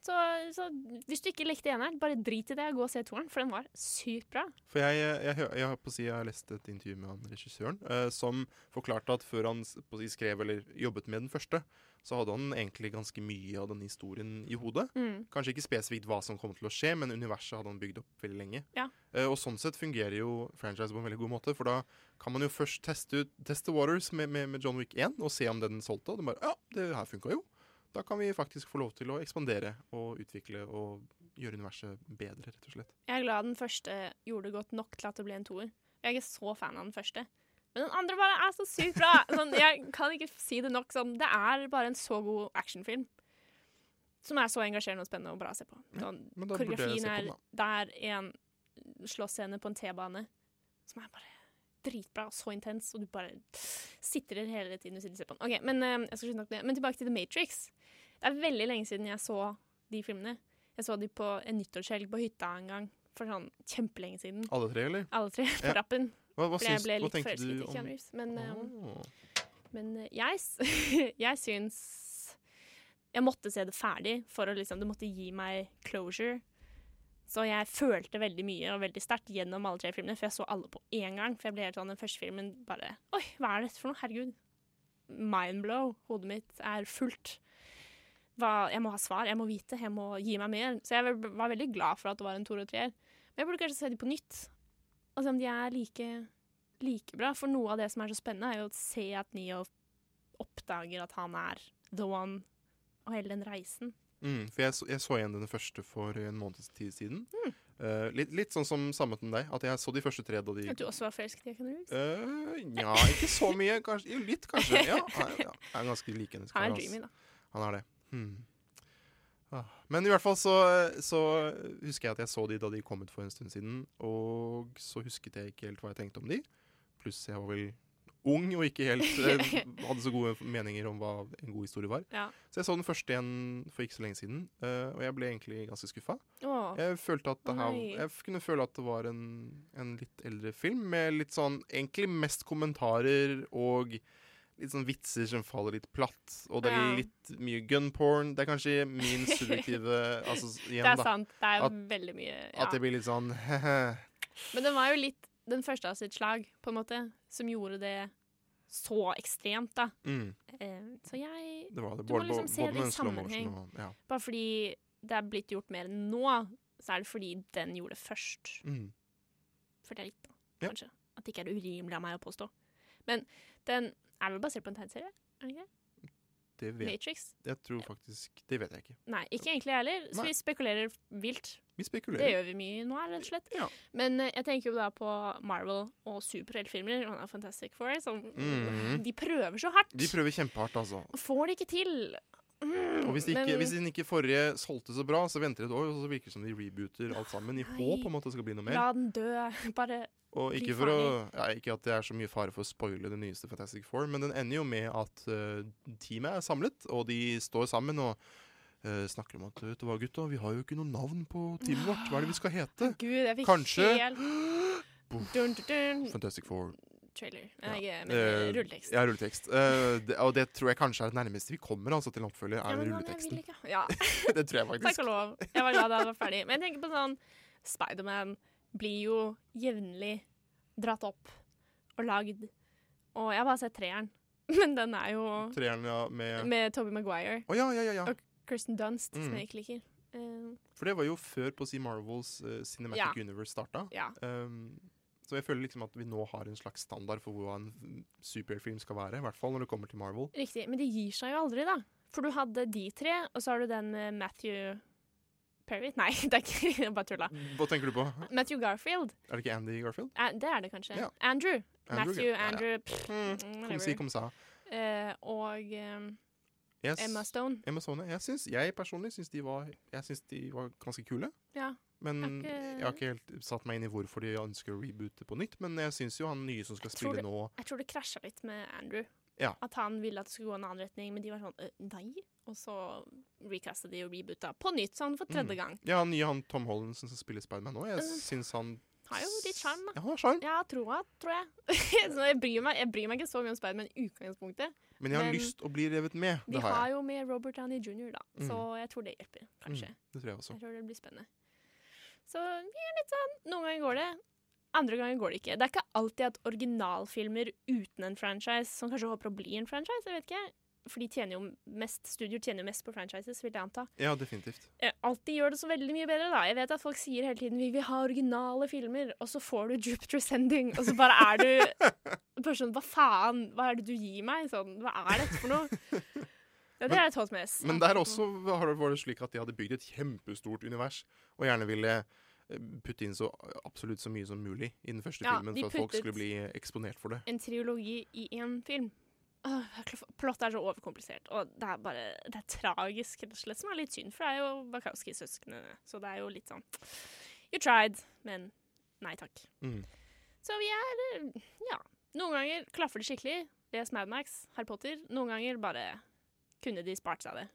Så, så hvis du ikke likte eneren, bare drit i det og gå og se toeren, for den var sykt bra. For jeg, eh, jeg, hø- jeg, har på å si, jeg har lest et intervju med han regissøren eh, som forklarte at før han s- på å si, skrev eller jobbet med den første, så hadde han egentlig ganske mye av denne historien i hodet. Mm. Kanskje ikke spesifikt hva som kom til å skje, men universet hadde han bygd opp veldig lenge. Ja. Eh, og sånn sett fungerer jo franchise på en veldig god måte, for da kan man jo først teste ut Test the Waters med, med, med John Wick 1 og se om den solgte, og det bare Ja, det her funka jo. Da kan vi faktisk få lov til å ekspandere og utvikle og gjøre universet bedre, rett og slett. Jeg er glad den første gjorde det godt nok til at det ble en toer. Jeg er ikke så fan av den første. Men den andre bare er så sykt bra! Sånn, jeg kan ikke si det nok. Sånn, det er bare en så god actionfilm. Som er så engasjerende og spennende og bra å se på. Sånn, men da burde jeg koreografien se på er den, der en slåssscene på en T-bane som er bare dritbra og så intens, og du bare sitrer hele tiden du sitter og ser på den. Ok, Men eh, jeg skal slutte nok med det. Men tilbake til The Matrix. Det er veldig lenge siden jeg så de filmene. Jeg så de på en nyttårshelg på hytta en gang for sånn kjempelenge siden. Alle tre, eller? Alle tre på Ja. rappen. Hva, hva, For jeg syns- ble hva litt tenkte forelsket du i om Keanu Reeves. Men, eh, Åh. men eh, jeg, s- jeg syns Jeg måtte se det ferdig, for å liksom, det måtte gi meg closure. Så jeg følte veldig mye og veldig sterkt gjennom alle tre filmene, for jeg så alle på én gang. For jeg ble helt sånn den første filmen bare Oi, hva er dette for noe? Herregud. Mindblow. Hodet mitt er fullt. Hva, jeg må ha svar, jeg må vite, jeg må gi meg mer. Så jeg ve- var veldig glad for at det var en toer og treer. Men jeg burde kanskje se de på nytt, og se om de er like, like bra. For noe av det som er så spennende, er jo å se at Neo oppdager at han er the one, og hele den reisen. Mm, for jeg så, jeg så igjen den første for en måneds tid siden. Mm. Eh, litt, litt sånn som samme som deg, at jeg så de første tre da de At du også var forelsket i Akan Reeves? Eh, Nja, ikke så mye. Kanskje, jo, litt, kanskje. Ja, han er- ja, han er ganske lik henne. skal Han er jeg, ass. dreamy, da. Han er det. Hmm. Ah, Men i hvert fall så, så husker jeg at jeg så de da de kom ut for en stund siden. Og så husket jeg ikke helt hva jeg tenkte om de. Pluss jeg var vel ung og ikke helt eh, hadde så gode meninger om hva en god historie var. Ja. Så jeg så den første igjen for ikke så lenge siden, eh, og jeg ble egentlig ganske skuffa. Åh. Jeg følte at det Å, her, nei. jeg f- kunne føle at det var en, en litt eldre film, med litt sånn egentlig mest kommentarer og litt sånn vitser som faller litt platt. Og det er Ja. litt mye gun porn. Det er kanskje min subjektive altså, s- igjen, det er da, sant. Det er jo at, veldig mye. Ja. at det blir litt sånn Men den var jo litt den første av sitt slag, på en måte, som gjorde det så ekstremt, da. Mm. Eh, så jeg Det var det. Du må Både- liksom både- se både det med i en slow motion sammenheng. og- ja. Bare fordi det er blitt gjort mer enn nå, så er det fordi den gjorde det først. Mm. For det er litt, da, kanskje. At det ikke er urimelig av meg å påstå. Men den er vel basert på en tegneserie? er den ikke det? Det vet Matrix? Jeg tror faktisk Det vet jeg ikke. Nei, ikke egentlig jeg heller, så Nei. vi spekulerer vilt. Vi spekulerer. Det gjør vi mye nå, her, rett og slett. Ja. Men eh, jeg tenker jo da på Marvel og superheltfilmer, og Fantastic Four, som Mhm. de prøver så hardt. De prøver kjempehardt, altså. Får det ikke til. Mm, Og hvis, de ikke, men- hvis den ikke forrige solgte så bra, så venter et år, og så virker det som de rebooter alt sammen i håp om at det skal bli noe La mer. den dø. Bare Og bli ikke, for å, ferdig. ja, ikke at det er så mye fare for å spoile det nyeste Fantastic Four, men den ender jo med at eh, teamet er samlet, og de står sammen og eh, snakker om at vet du hva, gutta, vi har jo ikke noe navn på teamet vårt. Hva er det vi skal hete? Gud, jeg fikk Kanskje helt dun, dun, dun. Fantastic Four. Trailer. Nei, ikke, men Eh, rulletekst. Ja, rulletekst. Eh, det, og det tror jeg kanskje er det nærmeste vi kommer altså, til en oppfølger, Ja, er men man, jeg vil rulleteksten. ikke. Ja. det tror jeg Takk faktisk. og lov. Jeg var glad da jeg var ferdig. Men jeg tenker på sånn Spiderman blir jo jevnlig dratt opp og lagd. Og jeg har bare sett treeren. Men den er jo Treeren ja, med, med Tobey Maguire Å, ja, ja, ja, ja. og Kirsten Dunst, som Mm. jeg ikke liker. Eh, For det var jo før på å si Marvels eh, Cinematic Ja. Universe starta. Ja. Um, så jeg føler liksom at vi nå har en slags standard for hva en mm, superheltfilm skal være. I hvert fall når det kommer til Marvel. riktig. Men det gir seg jo aldri, da. For du hadde de tre, og så har du den med Matthew Perry Nei, det er ikke jeg bare tulla. Hva tenker du på? Matthew Garfield. Er det ikke Andy Garfield? Eh, Det er det kanskje. Ja. Andrew. Andrew, Matthew, ja, ja. Andrew pff, Kom si, whatever. kom sa. Eh, og eh, Yes. Emma Stone. Emma Stone. Jeg, syns, jeg personlig syns de, var- jeg syns de var ganske kule. Ja. Men Er ikke- Jeg har ikke helt satt meg inn i hvorfor de ønsker å reboote på nytt. Men jeg syns jo han nye som skal tror spille det- nå Jeg tror det krasja litt med Andrew. Ja. At han ville at det skulle gå en annen retning, men de var sånn «Øh, nei. Og så recasta de og reboota på nytt, sånn for tredje Mm. gang. Ja, han nye han Tom Hollandsen som spiller Spiderman nå. Jeg Øh. syns han Har jo litt sjarm, da. Ja, han har sjarm. Ja, troa, tror jeg. så jeg bryr, meg, jeg bryr meg ikke så mye om Spiderman i utgangspunktet. Men jeg har lyst å bli revet med. De Det har, har jeg. jo med Robert Downey jr., da, Mm. så jeg tror det hjelper, kanskje. Mm, det tror jeg også. Jeg tror det blir spennende. Så vi er litt sånn Noen ganger går det, andre ganger går det ikke. Det er ikke alltid at originalfilmer uten en franchise, som kanskje håper å bli en franchise, jeg vet ikke For de tjener jo mest, studioer tjener jo mest på franchises, vil jeg anta. Ja, definitivt. Eh, Alltid gjør det så veldig mye bedre, da. Jeg vet at folk sier hele tiden 'vi vil ha originale filmer', og så får du 'Jupiter Sending', og så bare er du bare sånn 'hva faen, hva er det du gir meg?' Sånn, hva er dette for noe? Ja, det Men- er et hot mess. Men der også har det vært slik at de hadde bygd et kjempestort univers, og gjerne ville eh, putte inn så absolutt så mye som mulig i den første Ja, filmen, de for at folk puttet- skulle bli eksponert for det. en trilogi i én film. Åh, jeg klarer- Plott er så overkomplisert, og det er bare det er tragisk, rett og slett, som er litt synd, for det er jo Bakowski-søsknene, så det er jo litt sånn You tried, men nei takk. Mm. Så vi er eh, Ja. Noen ganger klaffer det skikkelig. Les Mad Max, Harry Potter. Noen ganger bare kunne de spart seg det.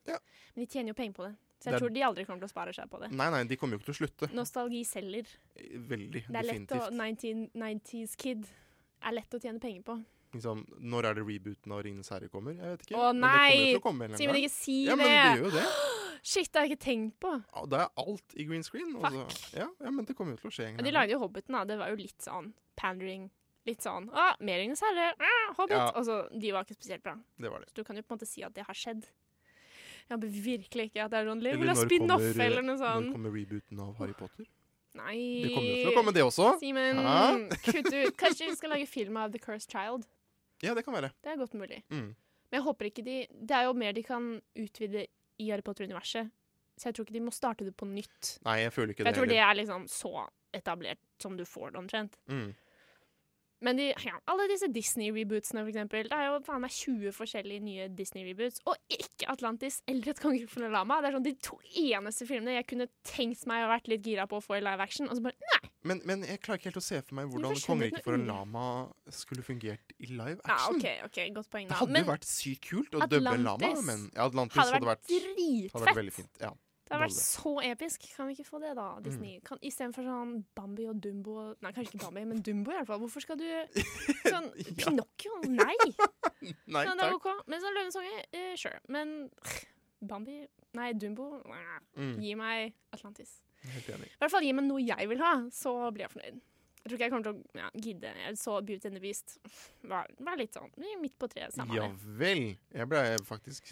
Men de tjener jo penger på det, så jeg Det er- tror de aldri kommer til å spare seg på det. Nei, nei, de kommer jo ikke til å slutte. Nostalgi selger. Eh, Veldig. Det er lett å definitivt. 1990s kid er lett å tjene penger på. Liksom, når er det rebooten av 'Ringenes herre' kommer? Jeg vet ikke. Å men nei! det kommer jo til å komme en eller annen Simen, gang. ikke si ja, det! Men det gjør jo det. Shit, det har jeg ikke tenkt på. Ja, Det er alt i green screen. Altså. Ja, ja, men det kommer jo til å skje. en Og gang. de lagde jo Hobbiten, da. Det var jo litt sånn pandering. Litt sånn Å, Meringens herre! Ah, Hobbit! Ja. Altså, de var ikke spesielt bra. Det var det. Så du kan jo på en måte si at det har skjedd. Jeg håper virkelig ikke at det er sånn Liv Eller vil ha når spin-off kommer- eh, eller noe sånn. sånt. Når kommer rebooten av Harry Potter? Nei Det kommer jo til å komme, det også. Simen, Hæ? kutt ut. Kanskje vi skal lage film av The Cursed Child? Ja, det kan være. Det er godt mulig. Mm. Men jeg håper ikke de Det er jo mer de kan utvide i Harry Potter-universet. Så jeg tror ikke de må starte det på nytt. Nei, jeg føler ikke For jeg det tror det er liksom så etablert som du får det omtrent. Mm. Men de, ja, alle disse Disney-rebootsene, for eksempel. Det er jo faen meg 20 forskjellige nye Disney-reboots. Og ikke Atlantis eller Et kongerufende lama. Det er sånn de to eneste filmene jeg kunne tenkt meg å vært litt gira på å få i live action. Og så bare nei! Men, men jeg klarer ikke helt å se for meg hvordan forsvant Kongeriket noe for en ord. lama skulle fungert i live Ja, Ah, action. OK, ok, godt poeng, Det da. hadde Men jo vært sykt kult å dubbe en lama, Atlantis men ja, Atlantis hadde hadde vært vært, hadde vært dritfett. veldig fint. Mm. Ja, det hadde vært så episk. Kan vi ikke få det, da, Disney? Kan, Istedenfor sånn Bambi og Dumbo og- Nei, kanskje ikke Bambi, men Dumbo i hvert fall. Hvorfor skal du Sånn Pinocchio? Nei! Nei, ja, det er takk. OK. Men sånn Løvenes konge, eh, sure. Men Bambi Nei, Dumbo nah. Mm. Gi meg Atlantis. Helt enig. I hvert fall gi meg noe jeg vil ha, så blir jeg fornøyd. Jeg tror ikke jeg kommer til å ja, gidde. Jeg så Beauty and the Beast. Var, var litt sånn midt på treet. Samme Ja det. vel. Jeg ble faktisk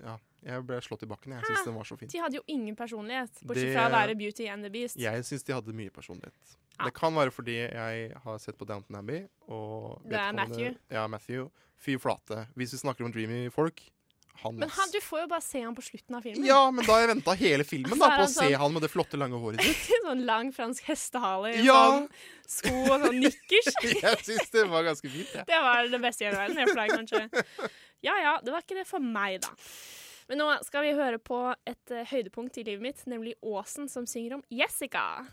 Ja, jeg ble slått i bakken. Jeg syns den var så fin. De hadde jo ingen personlighet, bortsett Det- fra å være Beauty and the Beast. Jeg syns de hadde mye personlighet. Det kan være fordi jeg har sett på Downton Abbey og Det er vedkommende- Matthew. Ja, Matthew. Fy flate. Hvis vi snakker om dreamy folk, Han, Men ass. han, du får jo bare se han på slutten av filmen. Ja, men da har jeg venta hele filmen da, Så er på å han se sånn- han med det flotte, lange håret ditt. sånn lang fransk hestehale, i Ja. sånn sko og sånn nikkers. Jeg syns det var ganske fint, jeg. Det var det beste i hele verden. Jeg fløy kanskje. Ja ja, det var ikke det for meg, da. Men nå skal vi høre på et eh, høydepunkt i livet mitt, nemlig Åsen som synger om Jessica.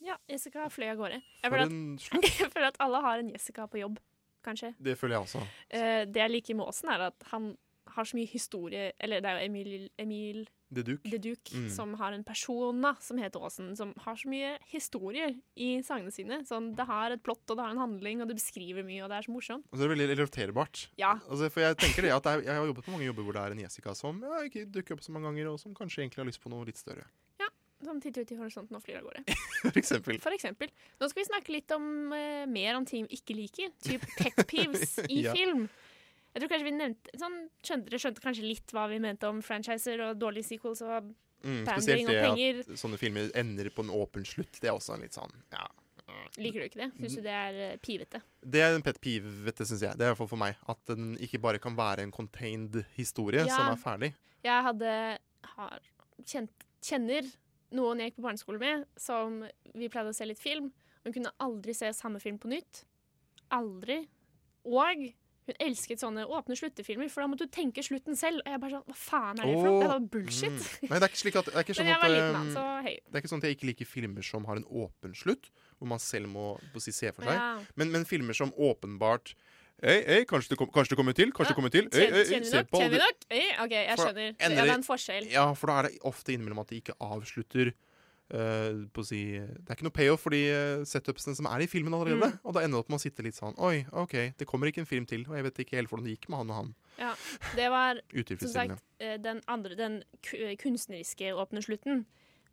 Ja, Jessica fløy av gårde. Jeg For føler, en at, jeg føler at alle har en Jessica på jobb, kanskje. Det føler jeg også. Eh, det jeg liker med Åsen, er at han har så mye historie Eller det er jo Emil, Emil The Duke. Mm. som har en persona som heter Åsen, som har så mye historier i sangene sine. Sånn, det har et plott, og det har en handling, og det beskriver mye, og det er så morsomt. Og så er det veldig relaterbart. Ja. Altså, for Jeg tenker det at det er, jeg har jobbet på mange jobber hvor det er en Jessica som ja, ikke dukker opp så mange ganger, og som kanskje egentlig har lyst på noe litt større. Som titter ut i horisonten og flyr av gårde. For eksempel. For eksempel. Nå skal vi snakke litt om eh, mer om ting vi ikke liker. Typ pet peeves i Ja. film. Jeg tror kanskje vi nevnte sånn, skjønte, Dere skjønte kanskje litt hva vi mente om franchiser og dårlige sequels og Mm, pandering spesielt og det penger. at sånne filmer ender på en åpen slutt. Det er også en litt sånn ja. Liker du ikke det? Mm. Syns du det er eh, pivete? Det er en pet peeve, vet du, syns jeg. Det er i hvert fall for meg. At den ikke bare kan være en contained historie Ja. som er ferdig. Jeg hadde har, kjent, kjenner noen jeg gikk på barneskole med, som vi pleide å se litt film. Hun kunne aldri se samme film på nytt. Aldri. Og hun elsket sånne åpne sluttefilmer, for da måtte du tenke slutten selv. Og jeg bare sånn Hva faen er det for noe? Det er Åh, bare bullshit. mm. Nei, det er ikke slik at, det er ikke Men sånn jeg at, var liten, altså. um, da, så hei. Det er ikke sånn at jeg ikke liker filmer som har en åpen slutt, hvor man selv må på å si, se for seg. Ja. Men, men filmer som åpenbart Ei, ei, kanskje det, kom, kanskje det kommer til? Kanskje det kommer til? Ei, ei, Kjenner, ei, kjenner vi se nok? på Kjenner vi aldri- nok? Ei, OK, jeg For da skjønner. ender Ja, det de- er en forskjell. Ja, for da er det ofte innimellom at de ikke avslutter eh, på å si Det er ikke noe payoff for de eh, setupsene som er i filmen allerede. Mm. Og da ender det opp med å sitte litt sånn Oi, OK, det kommer ikke en film til. Og jeg vet ikke helt hvordan det gikk med han og han. Ja, det var som Utilfredsstillende. sagt eh, den andre, den ku- kunstneriske åpne slutten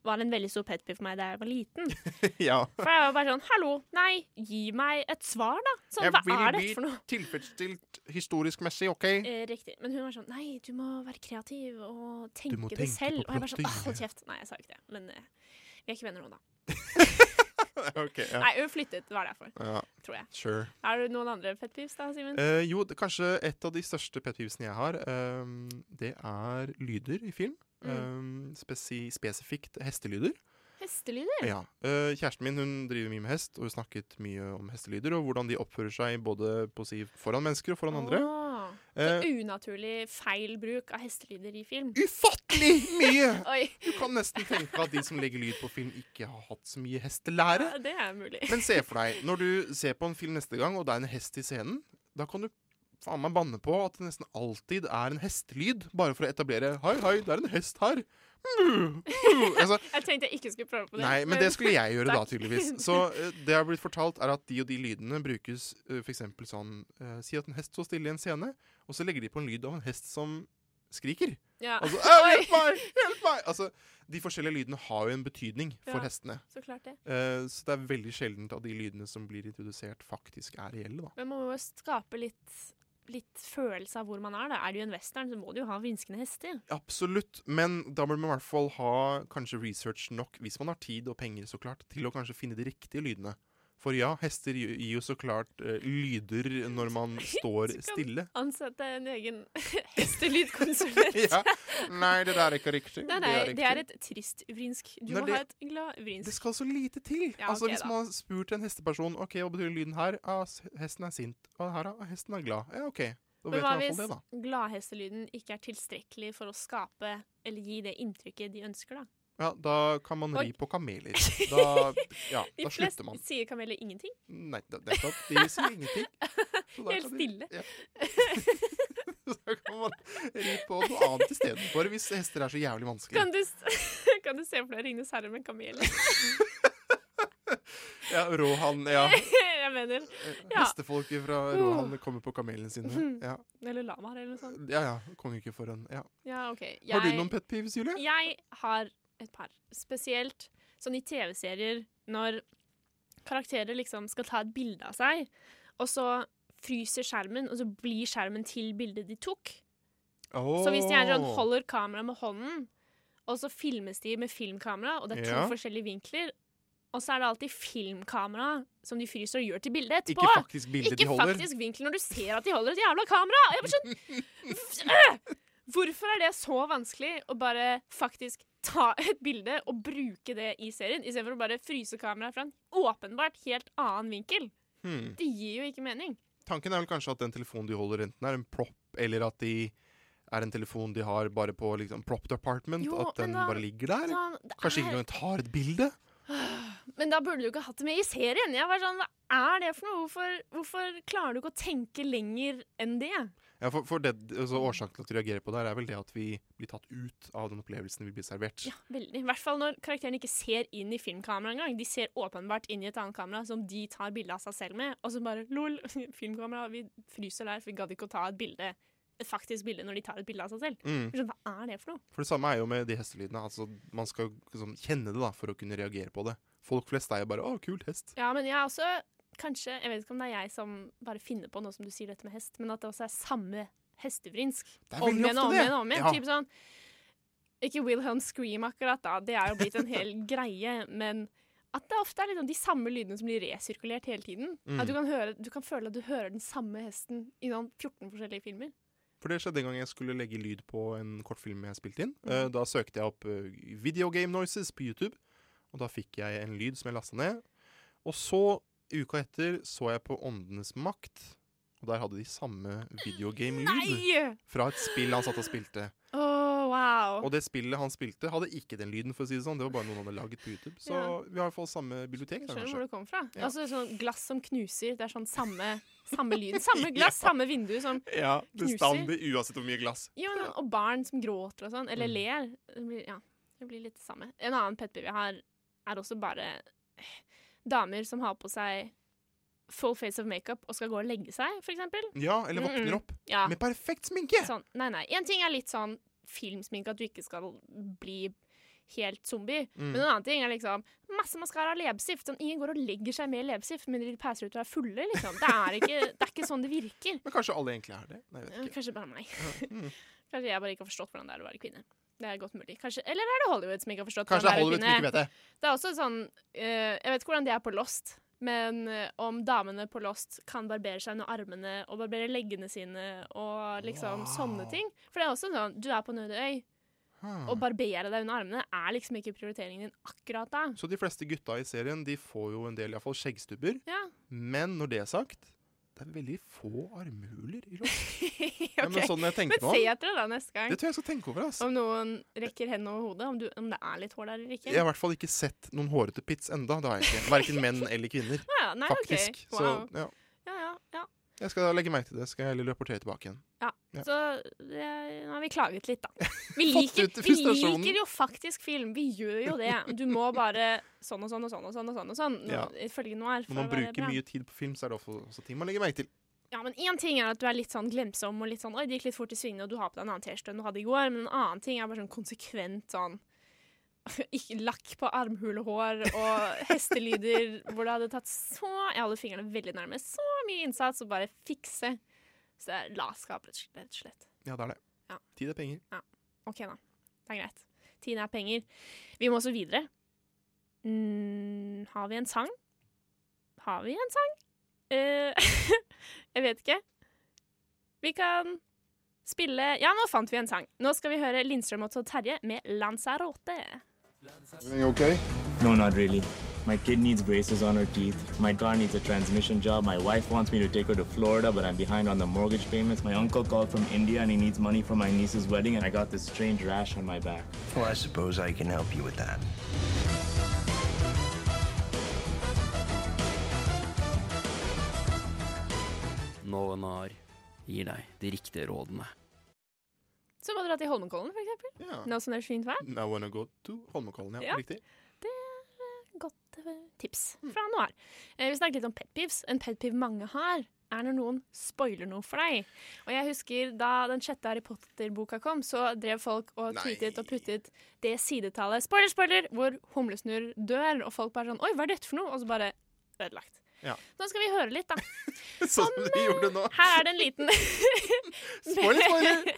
var en veldig stor pet peeve for meg da jeg var liten. ja. For jeg var bare sånn Hallo, nei, gi meg et svar, da. Sånn, hva er dette for noe? tilfredsstilt historisk messig, OK? Eh, riktig. Men hun var sånn Nei, du må være kreativ og tenke, må det tenke selv. på Og jeg bare sånn plotting, «Åh, Hold ja.» kjeft. Nei, jeg sa jo ikke det. Men eh, vi er ikke venner nå, da. Ok, ja. Nei, hun flyttet, var derfor. Ja. Tror jeg. Sure. Har du noen andre pet peeves da, Simen? Eh, jo, det, kanskje et av de største pet peevesene jeg har, ehm, det er lyder i film. Mm. Ehm, spesi spesifikt hestelyder. Hestelyder? Ja. Eh, kjæresten min hun driver mye med hest, og hun snakket mye om hestelyder og hvordan de oppfører seg både på å si, foran mennesker og foran andre. Åh, Eh, så unaturlig feil bruk av hestelyder i film. Ufattelig mye! Oi. Du kan nesten tenke at de som legger lyd på film, ikke har hatt så mye hestelære. Ja, det er mulig. Men se for deg, når du ser på en film neste gang, og det er en hest i scenen, da kan du faen meg banne på at det nesten alltid er en hestelyd, bare for å etablere Hei, hei, det er en hest her. Mm, mm. Altså, Jeg tenkte jeg ikke skulle prøve på det. Nei, men det skulle jeg gjøre da, Takk. tydeligvis. Så eh, det jeg har blitt fortalt, er at de og de lydene brukes eh, for eksempel sånn eh, Si at en hest står stille i en scene, og så legger de på en lyd av en hest som skriker. Ja. Altså, «Au, Ah, Oi. hjelp meg! Hjelp meg! Altså, de forskjellige lydene har jo en betydning for Ja, hestene. så klart det. Eh, så det er veldig sjeldent at de lydene som blir introdusert, faktisk er reelle, da. Men man må jo skape litt, litt følelse av hvor man er. Da. Er du en western, så må du jo ha vinskende hester. Absolutt, men da bør man i hvert fall ha kanskje research nok, hvis man har tid og penger, så klart, til å kanskje finne de riktige lydene. For ja, hester gir gir jo så klart eh, lyder når man står stille. Ansette en egen hestelydkonsulent. Ja. Nei, det der er ikke riktig. Nei, nei, det er et trist vrinsk. Du Nei, må det- ha et glad vrinsk. Det skal så lite til. Ja, altså, ok hvis da. man har spurt en hesteperson Ok, hva betyr lyden her, ah, s- hesten er sint. Og her, ah, hesten er glad. Ja, OK. Da Men vet hva man i hvert hvis fall det, da. gladhestelyden ikke er tilstrekkelig for å skape eller gi det inntrykket de ønsker, da? Ja, Da kan man Og- ri på kameler. Da, ja, De da flest slutter man. sier kameler ingenting. Nei, det det er sant. De sier ingenting. Så da Helt kan de- stille. Ja. Da kan man ri på noe annet istedenfor, hvis hester er så jævlig Kan vanskelig. du, s- kan du se for deg Ringnes herre med en kamel? Ja, Rohan, ja. Jeg mener. Ja. Hestefolket fra Uh. Rohan kommer på kamelene Mm-hmm. sine. Ja, Eller lamaer eller noe sånt. ja. ja. Kongerike foran. Ja. Ja, ok. Har du Jeg- noen pet peeves, Julie? Jeg har et par. Spesielt sånn i TV-serier når karakterer liksom skal ta et bilde av seg, og så fryser skjermen, og så blir skjermen til bildet de tok. Så hvis de er sånn, Åh. holder kameraet med hånden, og så filmes de med filmkamera, og det er to Ja. forskjellige vinkler, Og så er det alltid filmkamera som de fryser og gjør til bildet etterpå. Ikke faktisk bildet Ikke de holder. faktisk vinkel når du ser at de holder et jævla kamera! Og jeg bare sånn øh! Hvorfor er det så vanskelig å bare faktisk ta et bilde og bruke det i serien, istedenfor å bare fryse kameraet fra en åpenbart helt annen vinkel? Hmm. Det gir jo ikke mening. Tanken er vel kanskje at den telefonen de holder, enten er en propp, eller at de er en telefon de har bare på liksom, prop department. Jo, at den men da- bare ligger der. da- Sånn, det kanskje er- ikke engang tar et bilde. Men da burde du ikke hatt det med i serien. Jeg var sånn, Hva er det for noe? Hvorfor, hvorfor klarer du ikke å tenke lenger enn det? Ja, for, for det, altså, Årsaken til at vi reagerer på det, her er vel det at vi blir tatt ut av den opplevelsen vi blir servert. Veldig. I hvert fall når karakterene ikke ser inn i filmkameraet engang. De ser åpenbart inn i et annet kamera som de tar bilde av seg selv med, og så bare lol, filmkamera, vi fryser der, for vi gadd ikke å ta et bilde. Et faktisk bilde når de tar et bilde av seg selv. Mm. Jeg skjønner, Hva er det for noe? For det samme er jo med de hestelydene. altså Man skal jo liksom, kjenne det da, for å kunne reagere på det. Folk flest er jo bare 'Å, kul hest'. Ja, men jeg er også kanskje Jeg vet ikke om det er jeg som bare finner på nå som du sier dette med hest, men at det også er samme hestevrinsk. Det er Om veldig igjen og ofte om det. igjen og om igjen. Ja. Typ sånn Ikke Wilhelm Scream akkurat, da, det er jo blitt en hel greie, men at det ofte er liksom de samme lydene som blir resirkulert hele tiden. Mm. At du kan, høre, du kan føle at du hører den samme hesten i noen 14 forskjellige filmer. For det skjedde en gang jeg skulle legge lyd på en kortfilm jeg spilte inn. Mm. Eh, da søkte jeg opp eh, video game noises på YouTube, og da fikk jeg en lyd som jeg lasta ned. Og så, uka etter, så jeg på Åndenes makt, og der hadde de samme Nei! videogame-lyd fra et spill han satt og spilte. Åh, wow. Og det spillet han spilte, hadde ikke den lyden, for å si det sånn. Det var bare noen han hadde laget på YouTube. Så Ja. vi har i hvert fall samme bibliotek, da, Skjønner hvor kanskje. det kommer fra. Ja. Altså sånn glass som knuser. Det er sånn samme, samme lyd. Samme glass, samme vindu som Ja, Knuser. bestandig, uansett hvor mye glass. Ja, men, og barn som gråter og sånn, eller Mm. ler. Det blir, ja, det blir litt det samme. En annen pet peeve jeg har, er også bare eh, damer som har på seg full face of makeup og skal gå og legge seg, for eksempel. Ja, eller Mm-mm. våkner opp Ja. med perfekt sminke! Sånn, nei, nei. En ting er litt sånn filmsminke, at du ikke skal bli helt zombie. Mm. Men en annen ting er liksom masse maskara og leppestift. Sånn, ingen går og legger seg med leppestift, men de passer ut og er fulle, liksom. Det er ikke, det er ikke sånn det virker. Men kanskje alle egentlig er det? Nei, jeg vet Ja, ikke. Mm. Kanskje bare meg. Kanskje jeg bare ikke har forstått hvordan det er å være kvinne. Det er godt mulig. Kanskje, eller er det Hollywood som ikke har forstått Kanskje det er hvordan Hollywood som det er å være ikke vet det. Det er også sånn eh, Jeg vet ikke hvordan det er på Lost, men eh, om damene på Lost kan barbere seg under armene og barbere leggene sine og liksom sånne ting. For det er også sånn Du er på Nødøy øy. Hmm. Å barbere deg under armene er liksom ikke prioriteringen din akkurat da. Så de fleste gutta i serien de får jo en del i hvert fall skjeggstubber. Ja. Men når det er sagt, det er veldig få armhuler i Lost. ja, men sånn jeg tenker Men meg se om, etter det da neste gang. det tror jeg jeg skal tenke over. ass. Om noen rekker hendene over hodet. Om, du, om det er litt hår der eller ikke. Jeg har i hvert fall ikke sett noen hårete pits enda, det har jeg ikke. Verken menn eller kvinner. Ja, nei, ok. faktisk. Wow. Så ja. ja, ja, ja. jeg skal legge merke til det. Skal jeg heller rapportere tilbake igjen. Ja, Ja. så det, nå har vi klaget litt, da. Vi Fått liker, ut vi frustrasjonen. liker jo faktisk film. Vi gjør jo det. Du må bare sånn og sånn og sånn og sånn og sånn. Og sånn nå, Ja. ifølge noir. for Når å man være bruker bra. mye tid på film, så er det også, også ting man legger merke til. Ja, men én ting er at du er litt sånn glemsom og litt sånn Oi, det gikk litt fort i svingene, og du har på deg en annen T-skjorte enn du hadde i går. Men en annen ting er bare sånn konsekvent sånn ikke Lakk på armhulehår og hestelyder hvor det hadde tatt så Jeg holder fingrene veldig nærme. Så mye innsats og bare fikse. Så det er latskap, rett og slett. Ja, det er det. Ja. Tid er penger. Ja, ok da. Det er greit. Tiden er penger. Vi må også videre. Mm, har vi en sang? Har vi en sang? Eh, jeg vet ikke. Vi kan spille Ja, nå fant vi en sang. Nå skal vi høre Lindstrøm og Todd Terje med 'Lanzarote'. Everything okay? No, not really. My kid needs braces on her teeth. My car needs a transmission job. My wife wants me to take her to Florida, but I'm behind on the mortgage payments. My uncle called from India and he needs money for my niece's wedding, and I got this strange rash on my back. Well, I suppose I can help you with that. Novenar gir deg de riktige rådene. Så må du dra til Holmenkollen, for eksempel. Ja. Nå som det er fint vær. I wanna go to Holmenkollen, ja. Ja. Riktig. Det er eh, godt eh, tips Mm. fra Noir. Eh, vi snakket litt om pet peeves. En pet peeve mange har, er når noen spoiler noe for deg. Og jeg husker Da den sjette Harry Potter-boka kom, så drev folk og tweetet og puttet det sidetallet Spoiler, spoiler! Hvor humlesnurr dør, og folk bare sånn Oi, hva er dette for noe? Og så bare ødelagt. Ja. Nå skal vi høre litt, da. eh, Sånn som de gjorde nå. Her er det en liten Spoiler, spoiler!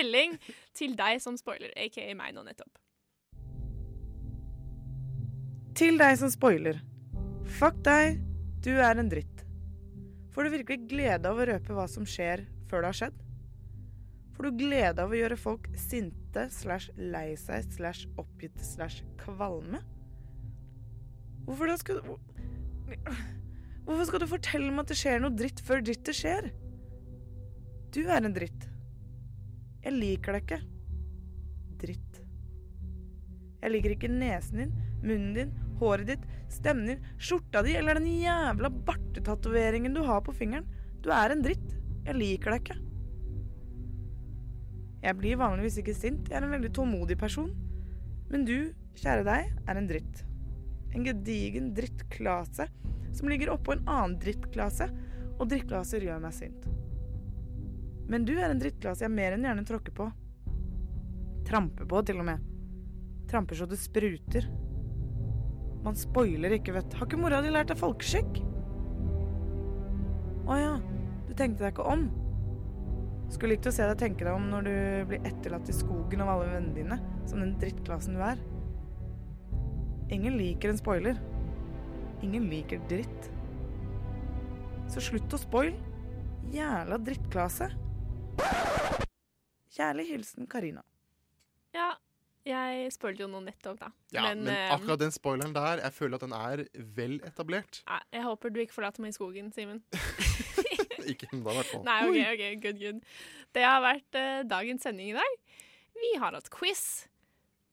melding til deg som spoiler, aka meg nå nettopp. Til deg som spoiler. Fuck deg, du er en dritt. Får du virkelig glede av å røpe hva som skjer før det har skjedd? Får du glede av å gjøre folk sinte slash lei seg slash oppgitt slash kvalme? Hvorfor da skal du Hvorfor skal du fortelle meg at det skjer noe dritt før drittet skjer? Du er en dritt. Jeg liker deg ikke. Dritt. Jeg liker ikke nesen din, munnen din, håret ditt, stemmen din, skjorta di eller den jævla bartetatoveringen du har på fingeren. Du er en dritt. Jeg liker deg ikke. Jeg blir vanligvis ikke sint. Jeg er en veldig tålmodig person. Men du, kjære deg, er en dritt. En gedigen drittklase som ligger oppå en annen drittklase, og drittklaser gjør meg sint. Men du er en drittklase jeg mer enn gjerne tråkker på. Tramper på, til og med. Tramper så det spruter. Man spoiler ikke, vet du. Har ikke mora di lært deg folkeskikk? Å ja, du tenkte deg ikke om? Skulle likt å se deg tenke deg om når du blir etterlatt i skogen av alle vennene dine, som den drittklassen du er. Ingen liker en spoiler. Ingen liker dritt. Så slutt å spoil. Jævla drittklase. Kjærlig hilsen Karina. Ja, jeg spoilte jo noe nettopp, da. Ja, men, eh, akkurat den spoileren der, jeg føler at den er vel etablert. Nei, Jeg håper du ikke forlater meg i skogen, Simen. Ikke ennå, i hvert fall. Nei, OK, ok, good, good. Det har vært eh, dagens sending i dag. Vi har hatt quiz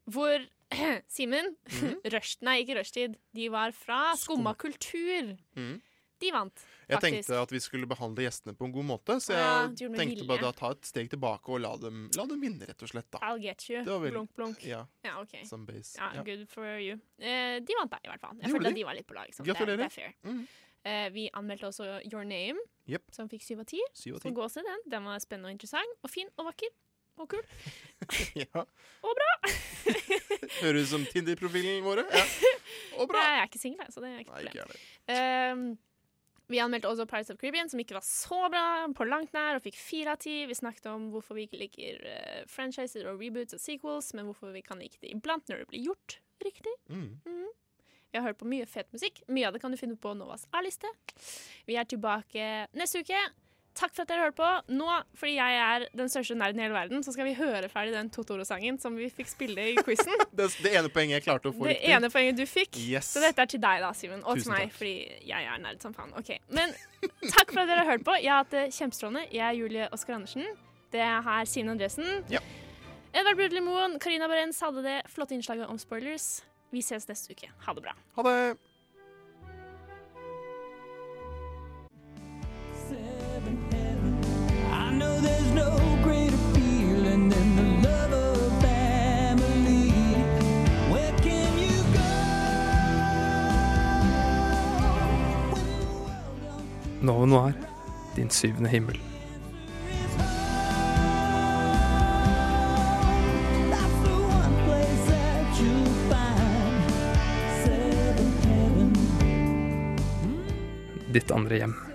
hvor Simen Mhm. rusht- Nei, ikke rushtid. De var fra Skumma kultur. Mm. De vant, Jeg faktisk. tenkte at vi skulle behandle gjestene på en god måte, så jeg Ja, du gjorde med tenkte vilje. bare da ta et steg tilbake og la dem, la dem vinne, rett og slett. da. I'll get you. Det var vel- blunk, blunk. ja, OK. some base. Ja, Ja. Good for you. Eh, de vant deg, i hvert fall. Jeg Gjorde følte de? at de var litt på lag. sånn. Gratulerer. Mm. Det, det er fair. Eh, vi anmeldte også Your Name, Jep. som fikk syv av ti. Syv av Så ti. gå og se den. Den var spennende og interessant og fin og vakker og kul. Ja. Og bra! Høres ut som Tinder-profilen våre. Ja. Og bra! Jeg er ikke singel, jeg, så det er ikke Nei, et ikke problem. jeg heller. Ehm, vi anmeldte også Pirates of Caribbean, som ikke var så bra på langt nær, og fikk fire av ti. Vi snakket om hvorfor vi ikke liker eh, franchiser og reboots og sequels, men hvorfor vi kan like det iblant når det blir gjort riktig. Mm. Mhm. Vi har hørt på mye fet musikk. Mye av det kan du finne på Novas A-liste. Vi er tilbake neste uke. Takk for at dere hørte på. Nå, fordi jeg er den største nerden i hele verden, så skal vi høre ferdig den Totoro-sangen som vi fikk spille i quizen. Det, det ene poenget jeg klarte å få Det riktig. ene poenget du fikk. Yes. Så dette er til deg, da, Simen. Og Tusen til meg, takk. fordi jeg er nerd som faen. Ok, Men takk for at dere har hørt på. Jeg har hatt det kjempestrålende. Jeg er Julie Oskar Andersen. Det er her Sine Andresen. Edvard Brudli Moen, Karina Barents hadde det flotte innslaget om spoilers. Vi ses neste uke. Ha det bra. Ha det! I know there's no greater feeling than the love of family. Where can you Nova Noir, din syvende himmel. place that you find? Seven heaven. Ditt andre hjem.